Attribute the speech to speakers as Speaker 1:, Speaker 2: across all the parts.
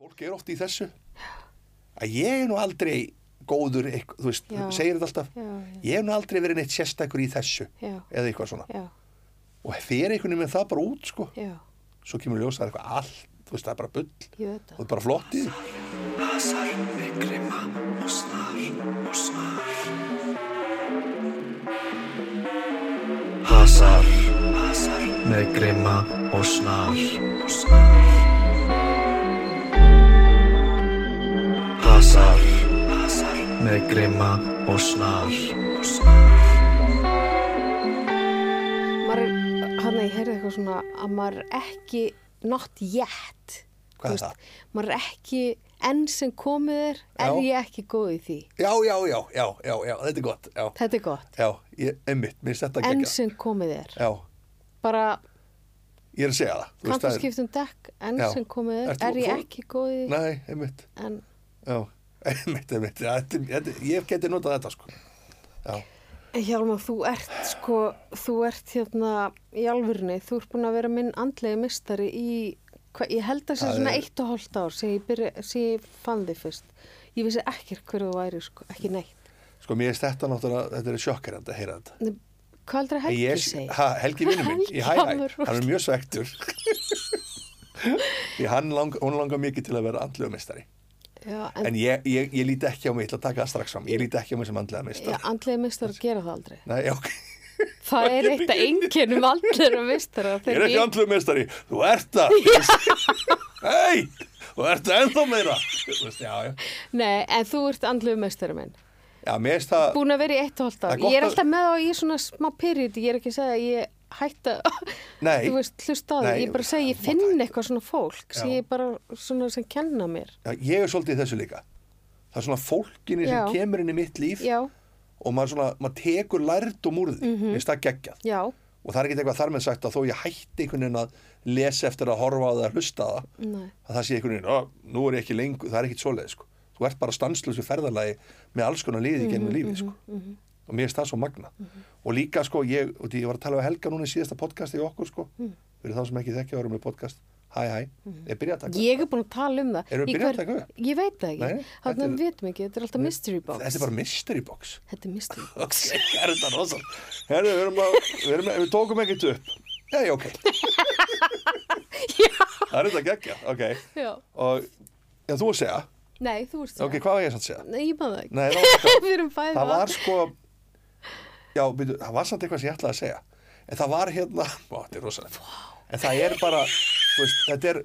Speaker 1: fólk er oft í þessu að ég er nú aldrei góður, eitth- þú veist,
Speaker 2: Já.
Speaker 1: segir þetta alltaf
Speaker 2: Já, já.
Speaker 1: ég er nú aldrei verið neitt sérstakur í þessu
Speaker 2: Já.
Speaker 1: eða eitthvað svona
Speaker 2: já,
Speaker 1: og fer einhvern veginn með það bara út sko
Speaker 2: já,
Speaker 1: svo kemur ljósað eitthvað allt, þú veist, það er bara bull
Speaker 2: ég veit
Speaker 1: og
Speaker 2: það.
Speaker 1: það er bara flott í því.
Speaker 3: Hasar með grimma og snar og snar Hasar, hasar með grimma og snar og snar Hasar, hasar með grimma og snar og snar
Speaker 2: Maður er, hann að ég heyrði eitthvað svona að maður er ekki not yet.
Speaker 1: Hvað er
Speaker 2: Þú veist,
Speaker 1: það?
Speaker 2: Maður er ekki, enn sem komið er, er
Speaker 1: Já.
Speaker 2: ég ekki góð í því.
Speaker 1: já, já, já, já, já, já, þetta er gott já,
Speaker 2: Þetta er gott.
Speaker 1: já, ég, einmitt, mér finnst þetta
Speaker 2: Enn
Speaker 1: geggjað.
Speaker 2: sem komið er.
Speaker 1: já,
Speaker 2: Bara,
Speaker 1: ég er að segja það þú veist,
Speaker 2: kanntu
Speaker 1: það er-
Speaker 2: skiptum dekk, enn
Speaker 1: Já.
Speaker 2: sem komið er,
Speaker 1: Ertu
Speaker 2: er ég
Speaker 1: fór-
Speaker 2: ekki góð í því.
Speaker 1: nei, einmitt,
Speaker 2: En,
Speaker 1: já, einmitt, einmitt já, þetta, þetta, ég geti notað þetta sko já,
Speaker 2: En Hjálmar, þú ert sko, þú ert hérna í alvörni, þú ert búin að vera minn andlegi mistari í, hva, ég held að sé
Speaker 1: Það
Speaker 2: svona
Speaker 1: er-
Speaker 2: eitt og hálft ár sem ég, byrja, sem ég fann þig fyrst. Ég vissi ekkert hver þú væri, sko, ekki neitt.
Speaker 1: sko, mér finnst þetta náttúrulega þetta er sjokkerandi að heyra þetta
Speaker 2: En Hvað heldur að Helgi
Speaker 1: ég,
Speaker 2: segja?
Speaker 1: ha, Helgi vinnur minn
Speaker 2: Helgi
Speaker 1: í hæ hæ,
Speaker 2: Hjálmur.
Speaker 1: hann er mjög svektur Því hann lang, hún langar mikið til að vera andlega mistari
Speaker 2: Já, en,
Speaker 1: en ég, ég, ég líti ekki á mig, ég ætla að taka það strax fram ég líti ekki á mig sem andlega
Speaker 2: já,
Speaker 1: mistari
Speaker 2: andlegi mistari gera það aldrei.
Speaker 1: Nei, já, ok.
Speaker 2: Það er eitt að enginn um andlegi mistara.
Speaker 1: Ég er ekki andlega mistari, þú ert það Hei, þú ert það ennþá meira Þú veist, Já, já,
Speaker 2: Nei, en þú ert andlegi mistari minn.
Speaker 1: já, mér finnst það
Speaker 2: Búin að vera í eitt og hálft
Speaker 1: Það
Speaker 2: ár.
Speaker 1: er gott
Speaker 2: Ég er
Speaker 1: að-
Speaker 2: alltaf með á, ég er svona smá pyrrit, ég er ekki að segja að ég hætta,
Speaker 1: Nei.
Speaker 2: þú veist, hlusta á það,
Speaker 1: Nei,
Speaker 2: ég er bara að segja, ég
Speaker 1: það-
Speaker 2: finn eitthvað svona fólk sem
Speaker 1: Já.
Speaker 2: ég bara svona sem kenna mér.
Speaker 1: já, Ég er svolítið í þessu líka Það er svona fólkinni sem
Speaker 2: Já.
Speaker 1: kemur inn í mitt líf
Speaker 2: Já, Mhm.
Speaker 1: og maður, svona, maður tekur lærdum úr því mm -hmm. minnst það geggjað
Speaker 2: já,
Speaker 1: og það er ekkert eitthvað þar með sagt að þó ég hætti einhvern veginn að lesa eftir að horfa á það að hlusta á það
Speaker 2: nei,
Speaker 1: að það sé einhvern veginn, "Ó, nú er ég ekki lengur það er ekkert svoleið, sko. þú ert bara stanslösu ferðalagi með alls konar liði mm gennum lífi sko. og mér er það svo magna og líka sko, ég, og því ég var að tala við Helga núna í síðasta podcasti í okkur sko fyrir þá sem ekki þekkja varum við podcast hæ hæ, ég byrja að taka
Speaker 2: ég er búin að tala um það.
Speaker 1: Erum við
Speaker 2: Í
Speaker 1: byrjuð að
Speaker 2: hver-
Speaker 1: taka upp?
Speaker 2: Ég veit það
Speaker 1: Nei,
Speaker 2: ekki, þannig
Speaker 1: þetta
Speaker 2: að
Speaker 1: er-
Speaker 2: við veitum ekki, þetta er alltaf mystery box.
Speaker 1: þetta er bara mystery box
Speaker 2: Þetta er mystery box.
Speaker 1: Það er þetta rosa Herru, við, erum að, við, erum, við tókum ekkert upp Já, já, ok Það er þetta geggja, ok
Speaker 2: Já,
Speaker 1: Og já, þú að segja
Speaker 2: nei, þú veist
Speaker 1: Ok, hvað var ég samt að segja?
Speaker 2: Nei, ég maður það ekki.
Speaker 1: Nei, það var, sko,
Speaker 2: Við erum bæðið.
Speaker 1: það var sko Já, byrju, það var samt eitthvað sem ég ætlaði að segja En það var hérna Ó, þetta er rosa En það er bara þú veist, þetta er,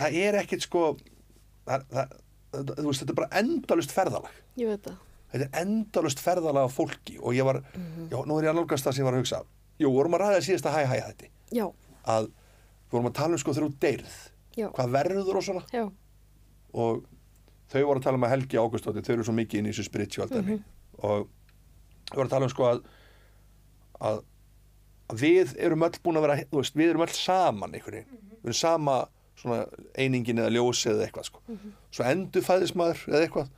Speaker 1: Það er ekkit sko það, það, það, Þú veist, þetta er bara endalust ferðalag
Speaker 2: Ég veit það.
Speaker 1: þetta er endalust ferðalega fólki og ég var, já, nú er ég að nálgast það sem ég var að hugsa jú, vorum að ræða síðasta hæ hæ þetta
Speaker 2: Já,
Speaker 1: að við vorum að tala um sko þegar þú deyrð
Speaker 2: Já.
Speaker 1: hvað verður og svona
Speaker 2: já,
Speaker 1: og þau voru að tala um að Helgi Águstóttir þau eru svo mikið inn í þessu spiritual dæmi og þau voru að tala um sko að, að, að við erum öll búin að vera þú veist, við erum öll saman einhvern veginn við erum sama svona einingin eða ljósi eða eitthvað sko svo endur fæðismæður eða eitthvað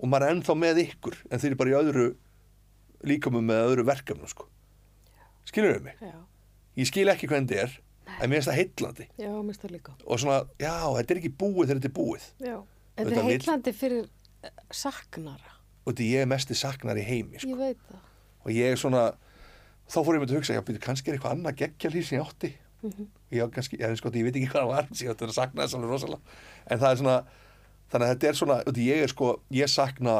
Speaker 1: og maður er ennþá með ykkur en þeir eru bara í öðru líkamum með öðru verkefnum sko skilur þau mig?
Speaker 2: já,
Speaker 1: Ég skil ekki hvernig þetta er en mér finnst það heillandi
Speaker 2: já, mistar líka.
Speaker 1: og svona, já, þetta er ekki búið þegar þetta er búið
Speaker 2: Já, þetta er
Speaker 1: Auðvitað vill-
Speaker 2: heitlandi fyrir eh, saknara.
Speaker 1: og því ég er mesti saknar í heimi sko.
Speaker 2: Ég veit það.
Speaker 1: og ég er svona þá fór ég með að hugsa, já, býtu, kannski er eitthvað annað geggjallýr sem ég átti og ég, á kannski, ég, sko, ég veit ekki hvað það var sem ég átti að sakna þess alveg rosalega en það er svona, þannig að þetta er svona og því ég er sko, ég sakna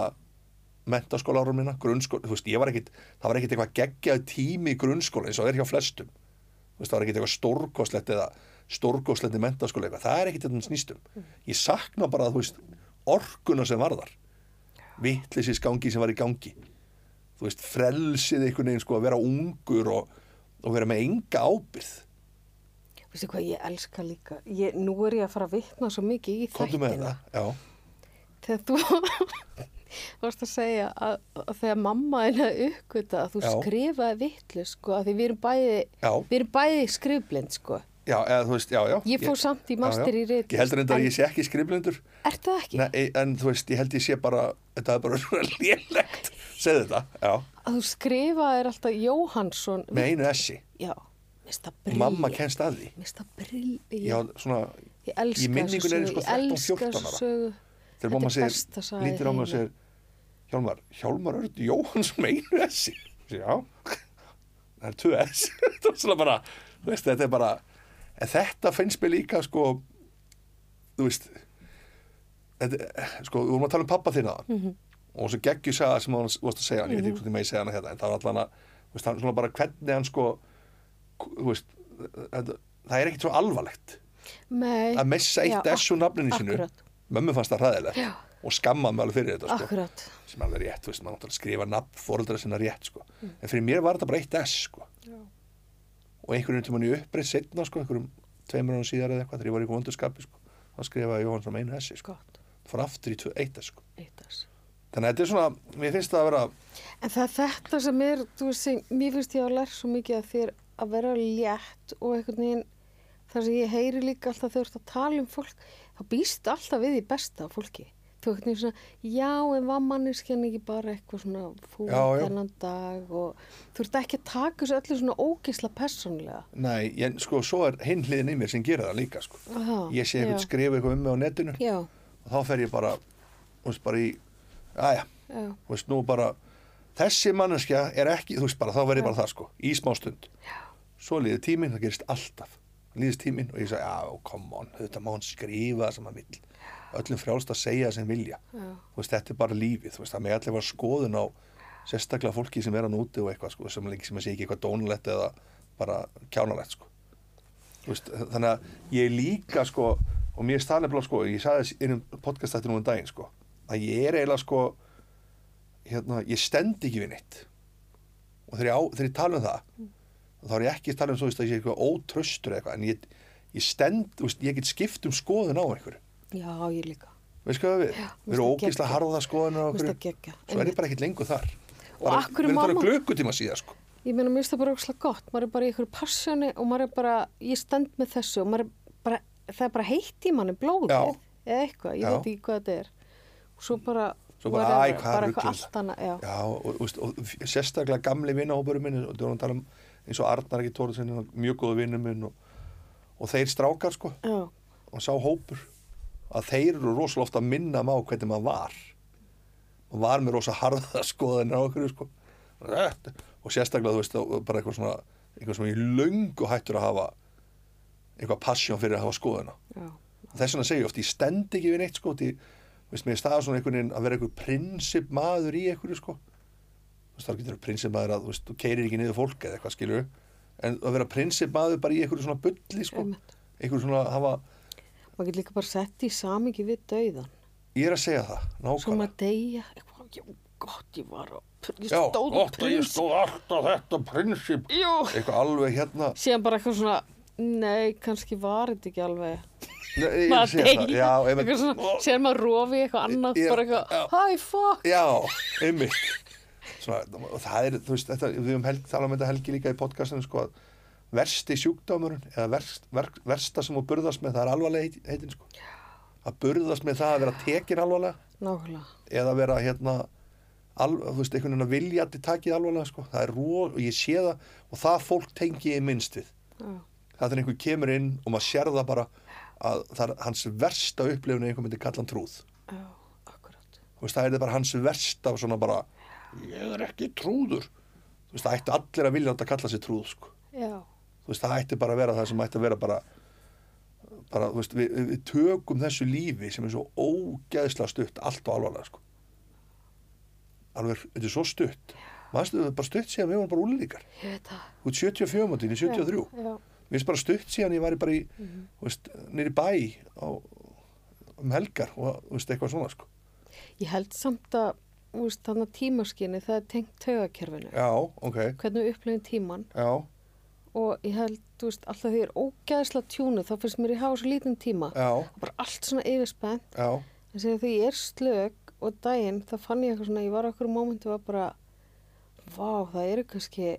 Speaker 1: mentaskóla árum minna, grunnskóla þú veist, ég var ekkit, það var ekkit eitthvað geggjað tími í grunnskóla eins og er hjá flestum þú veist, það var ekkit eitthvað stórkoslegt eða stórkoslegt í mentaskóla eitthvað, það er ekkit þetta snýstum, ég sakna bara, þú veist orkuna sem var þar vittlisis sem var í gangi þú veist, frelsið einhvern veginn sko að vera ungur og, og vera með enga ábyrð.
Speaker 2: Vistu hvað ég elska líka? Ég, nú er ég að fara að vitna svo mikið í
Speaker 1: Komdu með
Speaker 2: þættina.
Speaker 1: það, já.
Speaker 2: Þegar þú varst að segja að, að þegar mamma þín að uppgöta að þú
Speaker 1: Já.
Speaker 2: skrifaði vitlu sko að því við erum bæði,
Speaker 1: Já.
Speaker 2: við erum bæði skrifblind sko.
Speaker 1: Já, eða þú veist, já, já.
Speaker 2: Ég fór samt í master í ritlist,
Speaker 1: Ég heldur enda
Speaker 2: en-
Speaker 1: að ég sé ekki skriflendur,
Speaker 2: Er það ekki?
Speaker 1: en þú veist, ég held ég sé bara, þetta er bara svona lélegt, segðu þetta, já,
Speaker 2: Að þú skrifaði er alltaf Jóhansson.
Speaker 1: með einu essi.
Speaker 2: Já, mista brill.
Speaker 1: Mamma kennst að því.
Speaker 2: Mista brill.
Speaker 1: Já, svona,
Speaker 2: Ég Ég elska
Speaker 1: Í minningunni
Speaker 2: þessa
Speaker 1: er ég
Speaker 2: sögu,
Speaker 1: sko
Speaker 2: ég
Speaker 1: 13, 14
Speaker 2: elska þessa
Speaker 1: ára.
Speaker 2: sögu.
Speaker 1: þegar
Speaker 2: Þetta
Speaker 1: mamma
Speaker 2: er
Speaker 1: segir,
Speaker 2: besta saga í
Speaker 1: lítir á mig og
Speaker 2: heimi.
Speaker 1: segir Hjálmar, Hjálmar Örn Jóhansson meinu þessi já, það er 2S þetta er svona bara, þú veist, þetta er bara en þetta finnst mér líka sko, þú veist þetta, er- sko, við vorum að tala um pappa þinn aðan
Speaker 2: Mhm.
Speaker 1: og svo geggju saga sem hann varst að segja hann, ég veit ekki hvort ég megi segja hana hérna en það var allan að, þú veist, hann svona bara hvernig hann sko, þú veist þetta, það er ekkert svo alvarlegt
Speaker 2: Nei.
Speaker 1: að missa eitt
Speaker 2: Já,
Speaker 1: S úr nafninu sínu
Speaker 2: akkurat.
Speaker 1: mömmu fannst það hræðilegt
Speaker 2: Já.
Speaker 1: og skammaði mig alveg fyrir þetta sko,
Speaker 2: Akkurat.
Speaker 1: sem er alveg rétt, þú veist, maður náttúrulega skrifa nafn fóreldra sinna rétt sko.
Speaker 2: Mm.
Speaker 1: en fyrir mér var þetta bara eitt S sko. og einhverjum tímann í uppreitt setna sko, einhverjum tveimur ánum síðar eða eitthvað þegar ég var í vondurskapi sko. þá skrifaði Jóhann frá einu S sko.
Speaker 2: Gott.
Speaker 1: fór aftur í 1 S sko.
Speaker 2: Eitt S.
Speaker 1: þannig að þetta er svona, mér finnst það að vera
Speaker 2: En það er þetta sem er, þú veist, sem, mér finnst ég að læra svo mikið að þér að vera létt og einhvern veginn, þar sem ég heyri líka alltaf þegar þú ert að tala um fólk, þá býst alltaf við því besta af fólki. Þú einhvern veginn svona, já, en var manneskjan ekki bara eitthvað svona fúið
Speaker 1: Já, já.
Speaker 2: þennan dag og þú ert ekki að taka þessu öllu svona ógisla persónlega.
Speaker 1: nei, en sko, svo er hinn hliðin í mér sem gera það líka sko.
Speaker 2: Aha,
Speaker 1: ég sé
Speaker 2: já.
Speaker 1: eitthvað skrifa eitthvað um mig á netinu
Speaker 2: Já,
Speaker 1: og þá fer ég bara, þú veist, bara í aðja,
Speaker 2: já,
Speaker 1: þú veist, nú bara þessi manneskja er ekki, þú veist bara, þá verði bara það sko, í smá stund svo líður tíminn, það gerist alltaf líðist tíminn og ég sagði, já, come on þetta má hann skrifa það sem hann vill öllum frjálst að segja það sem vilja
Speaker 2: Já.
Speaker 1: þú veist, þetta er bara lífið, þú veist, það með allir var skoðun á sérstaklega fólki sem er að núti og eitthvað, sko, sem lengi sem að sé ekki eitthvað dónulegt eða bara kjánulegt, sko Þú veist, þannig að ég líka sko, og mér staðlega blá sko, ég sagði þess innum podcastættinu um daginn sko, að ég er eiginlega sko hérna, ég stend ekki við neitt og þegar ég, á, þegar ég tala um það þá er ég ekki að tala um svo veist, að ég er eitthvað ótröstur eða eitthvað, en ég, ég stend þú veist, ég get skipt um skoðun á einhverju
Speaker 2: já, ég líka.
Speaker 1: veist hvað við,
Speaker 2: Já,
Speaker 1: við erum
Speaker 2: mér finnst
Speaker 1: ógeðslega
Speaker 2: það geggjað.
Speaker 1: harða skoðun á
Speaker 2: Mér finnst það
Speaker 1: einhverju
Speaker 2: geggjað,
Speaker 1: svo er
Speaker 2: einmitt.
Speaker 1: ég bara ekkert lengur þar
Speaker 2: Og
Speaker 1: bara,
Speaker 2: af hverju
Speaker 1: við erum
Speaker 2: mamma-
Speaker 1: bara glökkutíma síðar sko
Speaker 2: Ég meina, mér finnst það bara ógslag gott, maður er bara í einhverju passjóni og maður er bara, ég stend með þessu og maður er bara, það er bara heitt í manni blóðið
Speaker 1: Já.
Speaker 2: eða eitthvað, ég
Speaker 1: Já.
Speaker 2: veit ekki hvað þetta er. Og svo bara,
Speaker 1: svo bara, æ,
Speaker 2: whatever,
Speaker 1: hvað
Speaker 2: bara
Speaker 1: ruglum
Speaker 2: eitthvað allt annað, já.
Speaker 1: já og, og, veist, og f- sérstaklega gamli vinahópurum minn og þú erum að tala um eins og Arnar ekki tóra sinni, mjög góðu vinnum minn og, og þeir strákar sko
Speaker 2: Já,
Speaker 1: og sá hópur að þeir eru rosalega ofta að minna maður á hvernig maður var maður var með rosa harða skoðanir á okkur sko. Þetta- og sérstaklega þú veist þá bara eitthvað svona eitthvað sem ég er löngu hættur að hafa eitthvað passjón fyrir að hafa skoðuna
Speaker 2: já,
Speaker 1: þess vegna segi ég oft, ég stend ekki við neitt sko, því, veist, mér staða svona einhvern veginn að vera einhver prinsip maður í einhverju sko þú veist, það getur að prinsip maður að, þú veist, þú keirir ekki niður fólk eða eitthvað skilur en að vera prinsip maður bara í einhverju svona bulli sko,
Speaker 2: Einmitt.
Speaker 1: einhverju svona hafa,
Speaker 2: maður getur líka bara sett í samingi við dauðan.
Speaker 1: ég er að segja það
Speaker 2: Svo
Speaker 1: nákvæmlega,
Speaker 2: maður deyja, eitthvað, já, gott, ég var á, ég
Speaker 1: já,
Speaker 2: stóð á
Speaker 1: gott að ég
Speaker 2: prins.
Speaker 1: stóð alltaf þetta prinsip,
Speaker 2: Jú,
Speaker 1: eitthvað alveg hérna
Speaker 2: síðan bara eitthvað svona, nei, kannski var þetta ekki alveg.
Speaker 1: Nei, ég er að
Speaker 2: Maður
Speaker 1: segja það,
Speaker 2: deyja,
Speaker 1: já,
Speaker 2: eitthvað svona,
Speaker 1: einmitt
Speaker 2: síðan maður rofi í eitthvað annað,
Speaker 1: Ég-
Speaker 2: bara
Speaker 1: já.
Speaker 2: eitthvað, hi, fuck.
Speaker 1: já, einmitt Svona, og það er, þú veist, þetta, við höfum helg, tala um þetta helgi líka í podcastinu sko, að versti sjúkdómurinn eða verst, verk, versta sem þú burðast með það er alvarlega heit, heitin sko. að burðast með það að vera tekin alvarlega
Speaker 2: Nákvæmlega.
Speaker 1: eða vera hérna al, þú veist, einhvern veginn að vilja að þið takið alvarlega sko. það er ró og ég sé það og það fólk tengi ég minnst við
Speaker 2: Já.
Speaker 1: það er þegar einhver kemur inn og maður sér það bara að það er hans versta upplifun ef einhver myndi kalla hann trúð
Speaker 2: Já, akkurat.
Speaker 1: þú veist, það er bara hans verst af svona bara, ég er ekki trúður þú veist, það ætti allir að vilja að kalla sér trúð, sko,
Speaker 2: Já,
Speaker 1: þú veist, það ætti bara að vera það sem ætti að vera bara bara, þú veist, við, við tökum þessu lífi sem er svo ógeðslega stutt allt og alvarlega, sko alveg, þetta er svo stutt maður er bara stutt síðan við vorum bara úlíkar
Speaker 2: ég veit það.
Speaker 1: út 74 mútið, í 73
Speaker 2: Já, já.
Speaker 1: mér finnst bara stutt síðan ég var bara í mm veist, nýri bæ á, um helgar og, þú veist, eitthvað svona, sko
Speaker 2: Ég held samt að, þú veist, þannig að tímaskinni, það er tengt taugakerfinu.
Speaker 1: já, ok,
Speaker 2: Hvernig við upplifum tíman
Speaker 1: já,
Speaker 2: og ég held, þú veist, alltaf því ég er ógæðslega tjúnu, þá finnst mér ég hafa svo lítinn tíma.
Speaker 1: já
Speaker 2: Og bara allt svona yfirspennt.
Speaker 1: Já,
Speaker 2: En segja því ég er slög og daginn, þá fann ég eitthvað svona, ég var á okkur mómentu og var bara, vá, það eru kannski,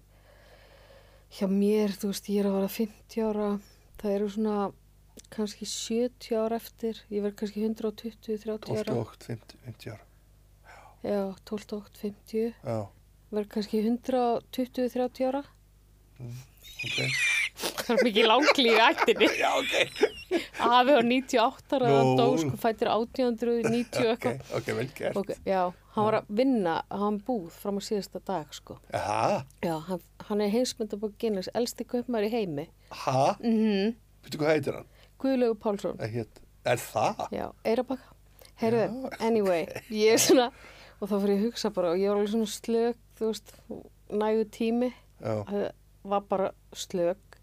Speaker 2: hjá mér, þú veist, ég er að vara 50 ára, það eru svona kannski 70 ára eftir, ég verð kannski 120-30
Speaker 1: 12
Speaker 2: ára.
Speaker 1: og 8, 50, 50 ára
Speaker 2: Já, 12, 8, 50,
Speaker 1: Já,
Speaker 2: verður kannski 120, 30 ára.
Speaker 1: ok
Speaker 2: Það er mikið langlífi ættinni.
Speaker 1: Já, ok
Speaker 2: Afi var 98 ára
Speaker 1: Nú.
Speaker 2: no. dó, sko, fættir 1890
Speaker 1: ok,
Speaker 2: eitthvað.
Speaker 1: ok, vel gert
Speaker 2: Okay, já, hann var að vinna, hann búð fram á síðasta dag, sko.
Speaker 1: ha,
Speaker 2: Já, hann, hann er heimsmyndabók Guinness, elsti kaupmæður í heimi.
Speaker 1: ha,
Speaker 2: Mm
Speaker 1: veitu hvað heitir hann
Speaker 2: Guðlaugur Pálsson.
Speaker 1: Það hét- er það?
Speaker 2: Já, Eirabakka. Heyrðu, anyway, ég er svona, og þá fyrir ég að hugsa bara, og ég var alveg svona slök, þú veist, nægu tími,
Speaker 1: Já.
Speaker 2: það var bara slök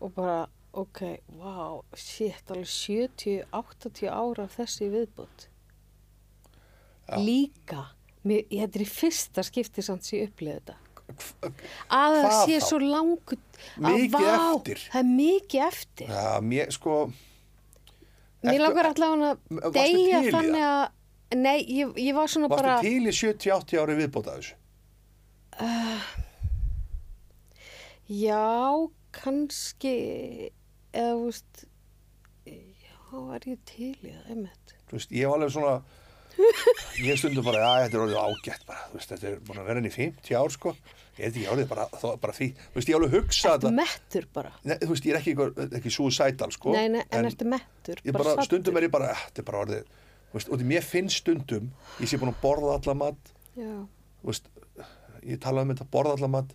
Speaker 2: og bara, ok, wow, shit, alveg 70, 80 ára af þessi viðbútt.
Speaker 1: Já.
Speaker 2: Líka, mér, ég þetta er í fyrsta skipti samt sem ég upplifði þetta.
Speaker 1: Hv-
Speaker 2: Að það
Speaker 1: Hvað
Speaker 2: sé
Speaker 1: þá?
Speaker 2: svo langur, að
Speaker 1: Mikið
Speaker 2: vá,
Speaker 1: eftir.
Speaker 2: það er mikið eftir.
Speaker 1: Já, mér sko
Speaker 2: Mér
Speaker 1: Ertu-
Speaker 2: langar allavega
Speaker 1: M- varstu
Speaker 2: að deyja
Speaker 1: til í það?
Speaker 2: þannig að, nei, ég, ég var svona
Speaker 1: Varstu
Speaker 2: bara,
Speaker 1: til í 70-80 ári viðbóta af þessu?
Speaker 2: já, kannski, eða, þú veist, já, var ég til í það, einmitt.
Speaker 1: Þú veist, ég var alveg svona Ég stundum bara, já, þetta er orðið ágætt bara Þú veist, þetta er búin að vera henni í 50 ár sko Ég er þetta ekki orðið bara, þó, bara því Þú veist, ég alveg hugsa
Speaker 2: Ertu
Speaker 1: þetta
Speaker 2: mettur bara?
Speaker 1: Nei, Þú veist, ég er ekki, ykkur- ekki suicidal sko
Speaker 2: nei, nei, en, ertu mettur?
Speaker 1: Ég bara,
Speaker 2: saddur?
Speaker 1: stundum er ég bara, eh, þetta er bara orðið Þú veist, og því mér finnst stundum Ég sé búin að borða alla mat
Speaker 2: Já,
Speaker 1: Þú veist, ég tala um þetta, borða alla mat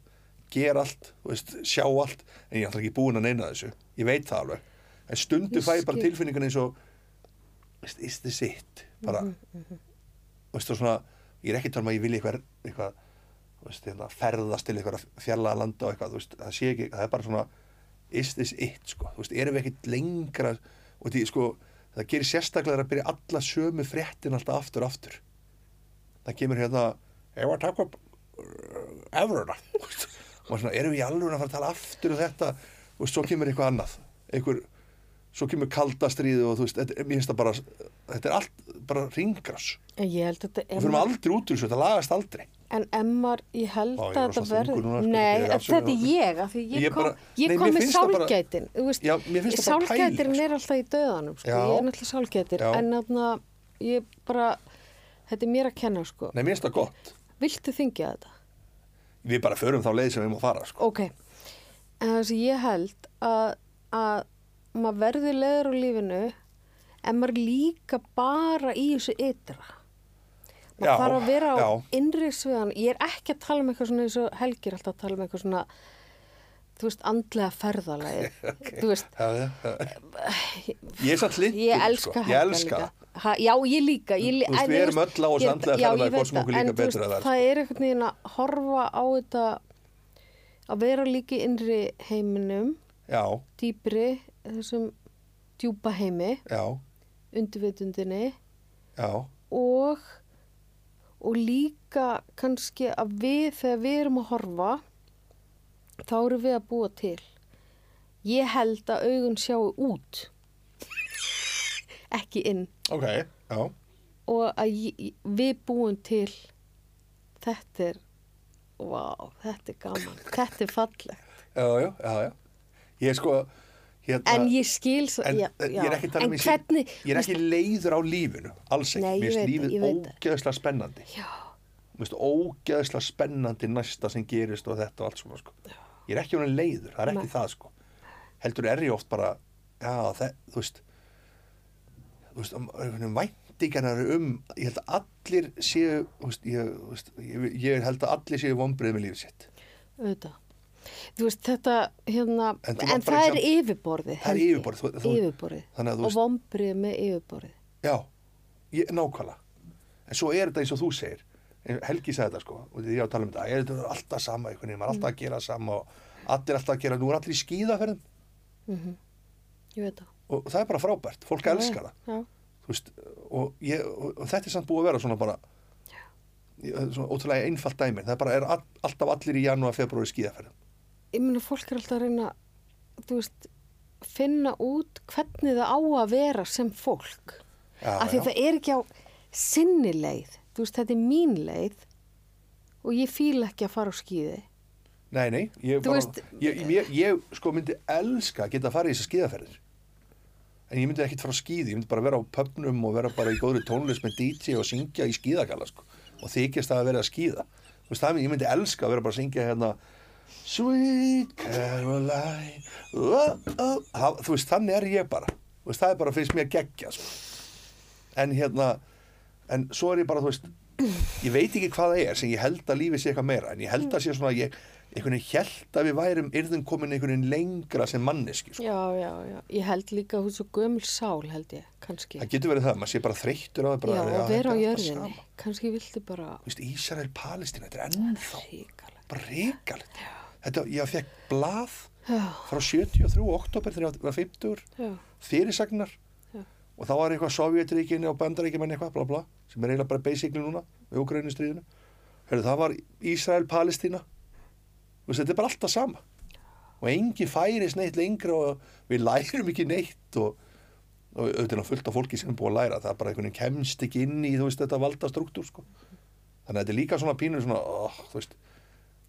Speaker 1: Gera allt, þú veist, sjá allt En ég er alltaf ekki búin að neina þessu Ég veit það alveg En
Speaker 2: Ég
Speaker 1: stundum fæ ég bara
Speaker 2: skil.
Speaker 1: tilfinningan eins og þú veist, Is this it? Bara, þú veist, og svona Ég er ekki tala um að ég vilja eitthvað, eitthvað þú veist, hérna, ferðast til eitthvað fjallaða landa og eitthvað, þú veist, það sé ekki, það er bara svona is this it, sko, þú veist, erum við ekkert lengra og því, sko, það gerir sérstaklega að byrja alla sömu fréttin alltaf aftur og aftur það kemur hérna, ég var að taka upp efruna og maður svona, erum við í alveg að fara að tala aftur um þetta og svo kemur eitthvað annað einhver, svo kemur kaldastriði og þú veist, þetta, mér finnst það bara þetta er allt, bara ringras
Speaker 2: en ég held að þetta,
Speaker 1: við
Speaker 2: ef
Speaker 1: fyrir
Speaker 2: maður-
Speaker 1: aldrei út úr þessu, þetta lagast aldrei
Speaker 2: en emmar, ég held
Speaker 1: Vá, ég
Speaker 2: að
Speaker 1: var
Speaker 2: þetta
Speaker 1: svona
Speaker 2: verð,
Speaker 1: þungur núna, sko,
Speaker 2: nei,
Speaker 1: ég er
Speaker 2: en
Speaker 1: absolutt-
Speaker 2: þetta er ég, af því ég,
Speaker 1: Ég
Speaker 2: kom,
Speaker 1: bara-
Speaker 2: ég
Speaker 1: nei,
Speaker 2: kom
Speaker 1: mér
Speaker 2: með
Speaker 1: finnst það bara-
Speaker 2: sálgætin, þú veist,
Speaker 1: Já, mér finnst það bara
Speaker 2: sálgætin
Speaker 1: pæling,
Speaker 2: er alltaf í döðanum, sko,
Speaker 1: Já.
Speaker 2: ég er náttúrulega sálgætin,
Speaker 1: Já.
Speaker 2: en þarna, ég bara, þetta er mér að kenna, sko,
Speaker 1: Nei, mér finnst það gott.
Speaker 2: viltu þingja þetta?
Speaker 1: Við bara förum þá leið sem við má fara, sko.
Speaker 2: Ok, en það sem ég held að, að maður verður leður á lífinu, en maður er líka bara í þessu ytra.
Speaker 1: Já,
Speaker 2: maður þarf að vera á
Speaker 1: já.
Speaker 2: innri sviðan ég er ekki að tala um eitthvað svona eins og Helgi er alltaf að tala um eitthvað svona þú veist, andlega ferðalagi þú veist,
Speaker 1: Já, já, já. Ég er satt lindur,
Speaker 2: ég elska
Speaker 1: sko. Ég
Speaker 2: Helga
Speaker 1: elska.
Speaker 2: líka ha, já, ég líka ég,
Speaker 1: Þú veist,
Speaker 2: en
Speaker 1: við
Speaker 2: ég
Speaker 1: erum
Speaker 2: veist-
Speaker 1: öll á þessu
Speaker 2: ég-
Speaker 1: andlega
Speaker 2: já, ég
Speaker 1: ferðalagi,
Speaker 2: veit
Speaker 1: hvort sem okkur
Speaker 2: það,
Speaker 1: líkar
Speaker 2: en þú
Speaker 1: betur
Speaker 2: veist,
Speaker 1: eða verr,
Speaker 2: það er eitthvað neginn að horfa á þetta að vera líka í innri heiminum
Speaker 1: Já,
Speaker 2: dýpri, þessum djúpa heimi,
Speaker 1: já,
Speaker 2: undirvitundinni
Speaker 1: já,
Speaker 2: og og líka kannski að við þegar við erum að horfa þá erum við að búa til ég held að augun sjáu út ekki inn
Speaker 1: ok, já.
Speaker 2: og að ég, við búum til þetta er wow, þetta er gaman þetta er fallegt
Speaker 1: Já, já, já, já. Ég er sko, hérna,
Speaker 2: en ég skil svo,
Speaker 1: en,
Speaker 2: já,
Speaker 1: en
Speaker 2: já.
Speaker 1: ég er ekki talað um
Speaker 2: en
Speaker 1: ég sé-
Speaker 2: hvernig
Speaker 1: Ég er ekki leiður á lífinu, alls ekki.
Speaker 2: Nei, ég
Speaker 1: Mér
Speaker 2: veit
Speaker 1: finnst
Speaker 2: það,
Speaker 1: lífið
Speaker 2: ég veit það.
Speaker 1: ógeðslega spennandi.
Speaker 2: já,
Speaker 1: Mér finnst ógeðslega spennandi næsta sem gerist og þetta og allt svona, sko. Ég er ekki honum leiður, það er ekki
Speaker 2: Nei.
Speaker 1: það, sko. Heldur er ég oft bara, já, það, þú veist, þú veist, um, um væntingarnar um, ég held að allir séu, þú veist, ég, þú veist, ég, ég held að allir séu vonbrið með lífið sitt.
Speaker 2: auðvitað Þú veist, þetta, hérna,
Speaker 1: En
Speaker 2: en,
Speaker 1: þú mátt bara
Speaker 2: það er
Speaker 1: ekki
Speaker 2: yfirborðið.
Speaker 1: Það er
Speaker 2: held ég.
Speaker 1: yfirborðið, þú- þú-
Speaker 2: yfirborðið.
Speaker 1: þannig að þú
Speaker 2: og
Speaker 1: veist-
Speaker 2: vombrið með yfirborðið.
Speaker 1: Já, ég, nákvæmlega. En svo er þetta eins og þú segir, En Helgi sagði þetta sko, og því ég á að tala um þetta, er þetta er alltaf sama, einhvern veginn, maður er alltaf að gera það sama og allir alltaf að gera, nú er allir í skíðaferðum
Speaker 2: Ég veit það.
Speaker 1: og það er bara frábært, fólk elskar það.
Speaker 2: Já,
Speaker 1: þú veist, og, ég, og, og þetta er samt búið að vera svona bara ég- svona ótrúlega einfalt dæmi það bara er all, alltaf allir í janúar, februari skíðaferðum
Speaker 2: ég meina, fólk er alltaf að reyna, þú veist, finna út hvernig það á að vera sem fólk.
Speaker 1: Já,
Speaker 2: Af því
Speaker 1: já.
Speaker 2: það er ekki á sinni leið. Þú veist, þetta er mín leið og ég fíla ekki að fara á skýði.
Speaker 1: nei, nei, ég,
Speaker 2: Þú
Speaker 1: bara,
Speaker 2: veist-
Speaker 1: ég, ég, ég sko myndi elska að geta að fara í þessar skíðaferðir en ég myndi ekkit fara á skíði, ég myndi bara vera á pöfnum og vera bara í góðri tónlist með DJ og syngja í skíðakalla sko, og þykist það að vera að skíða þú veist, það, ég myndi elska að vera bara að syngja hérna Sweet Caroline oh, oh. Ha, Þú veist, þannig er ég bara Þú veist, Það er bara finnst mér geggja sko. En hérna En svo er ég bara, þú veist Ég veit ekki hvað það er sem ég held að lífi sé eitthvað meira En ég held að sé svona að ég einhvern veginn held að við værum yrðum komin einhvern veginn lengra sem manneski sko.
Speaker 2: Já, já, já. Ég held líka hún svo gömul sál held ég, kannski.
Speaker 1: Það getur verið það, maður sé bara þreyttur á það bara,
Speaker 2: Já, að vera á
Speaker 1: þetta er alltaf
Speaker 2: jörðinni.
Speaker 1: sama.
Speaker 2: Kannski viltu bara...
Speaker 1: Þú veist, Ísrael, Palestina, þetta er ennþá
Speaker 2: Ríkalegt.
Speaker 1: bara rekalegt Þetta, ég fekk blað
Speaker 2: Já,
Speaker 1: frá 73. oktober þegar ég var 50
Speaker 2: já,
Speaker 1: fyrirsagnar
Speaker 2: Já.
Speaker 1: og þá var eitthvað Sovjetríkinni og Bandaríkjumenn eitthvað bla bla, sem er eiginlega bara basically núna við Ukraínustriðinu Heru, það var Ísrael, Palestína Þú veist, þetta er bara alltaf sama og engin færis neitt lengra og við lærum ekki neitt og, og auðvitað er nú fullt af fólki sem er búið að læra það er bara einhvern veginn kemst ekki inn í þú veist, þetta valda struktúr sko. þannig að þetta er líka svona pínur svona, oh, þú veist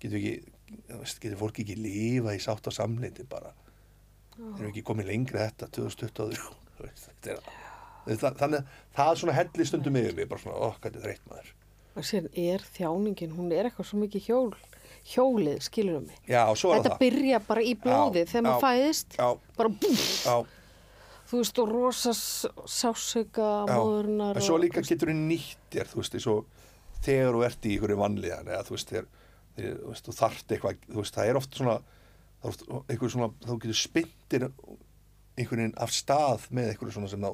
Speaker 1: getur ekki, þú veist, getur fólki ekki lifa í sátt og samlindi bara erum við ekki komið lengri þetta 2023 þú veist, þetta er það, þannig að það er svona helli stundum yfir mig bara svona, ó, hvað þetta er reitt maður
Speaker 2: og síðan er þjáningin, hún er eitthvað svo mikið hjól, hjólið, skilurum mig.
Speaker 1: já, og svo er
Speaker 2: Þetta
Speaker 1: það
Speaker 2: byrja bara í blóðið þegar maður
Speaker 1: já,
Speaker 2: fæðist,
Speaker 1: já,
Speaker 2: bara búf,
Speaker 1: já,
Speaker 2: þú veist, og rosa sásauka
Speaker 1: já,
Speaker 2: móðurnar
Speaker 1: en svo líka getur við nýttir þú veist, eins og þegar þú ert í ykkur vanlíðan eða þú veist, þegar, þegar, þú veist, þú þarft eitthvað þú veist, það er oft svona það er oft einhver svona, þá getur spyndir einhvern veginn af stað með einhverju svona sem ná,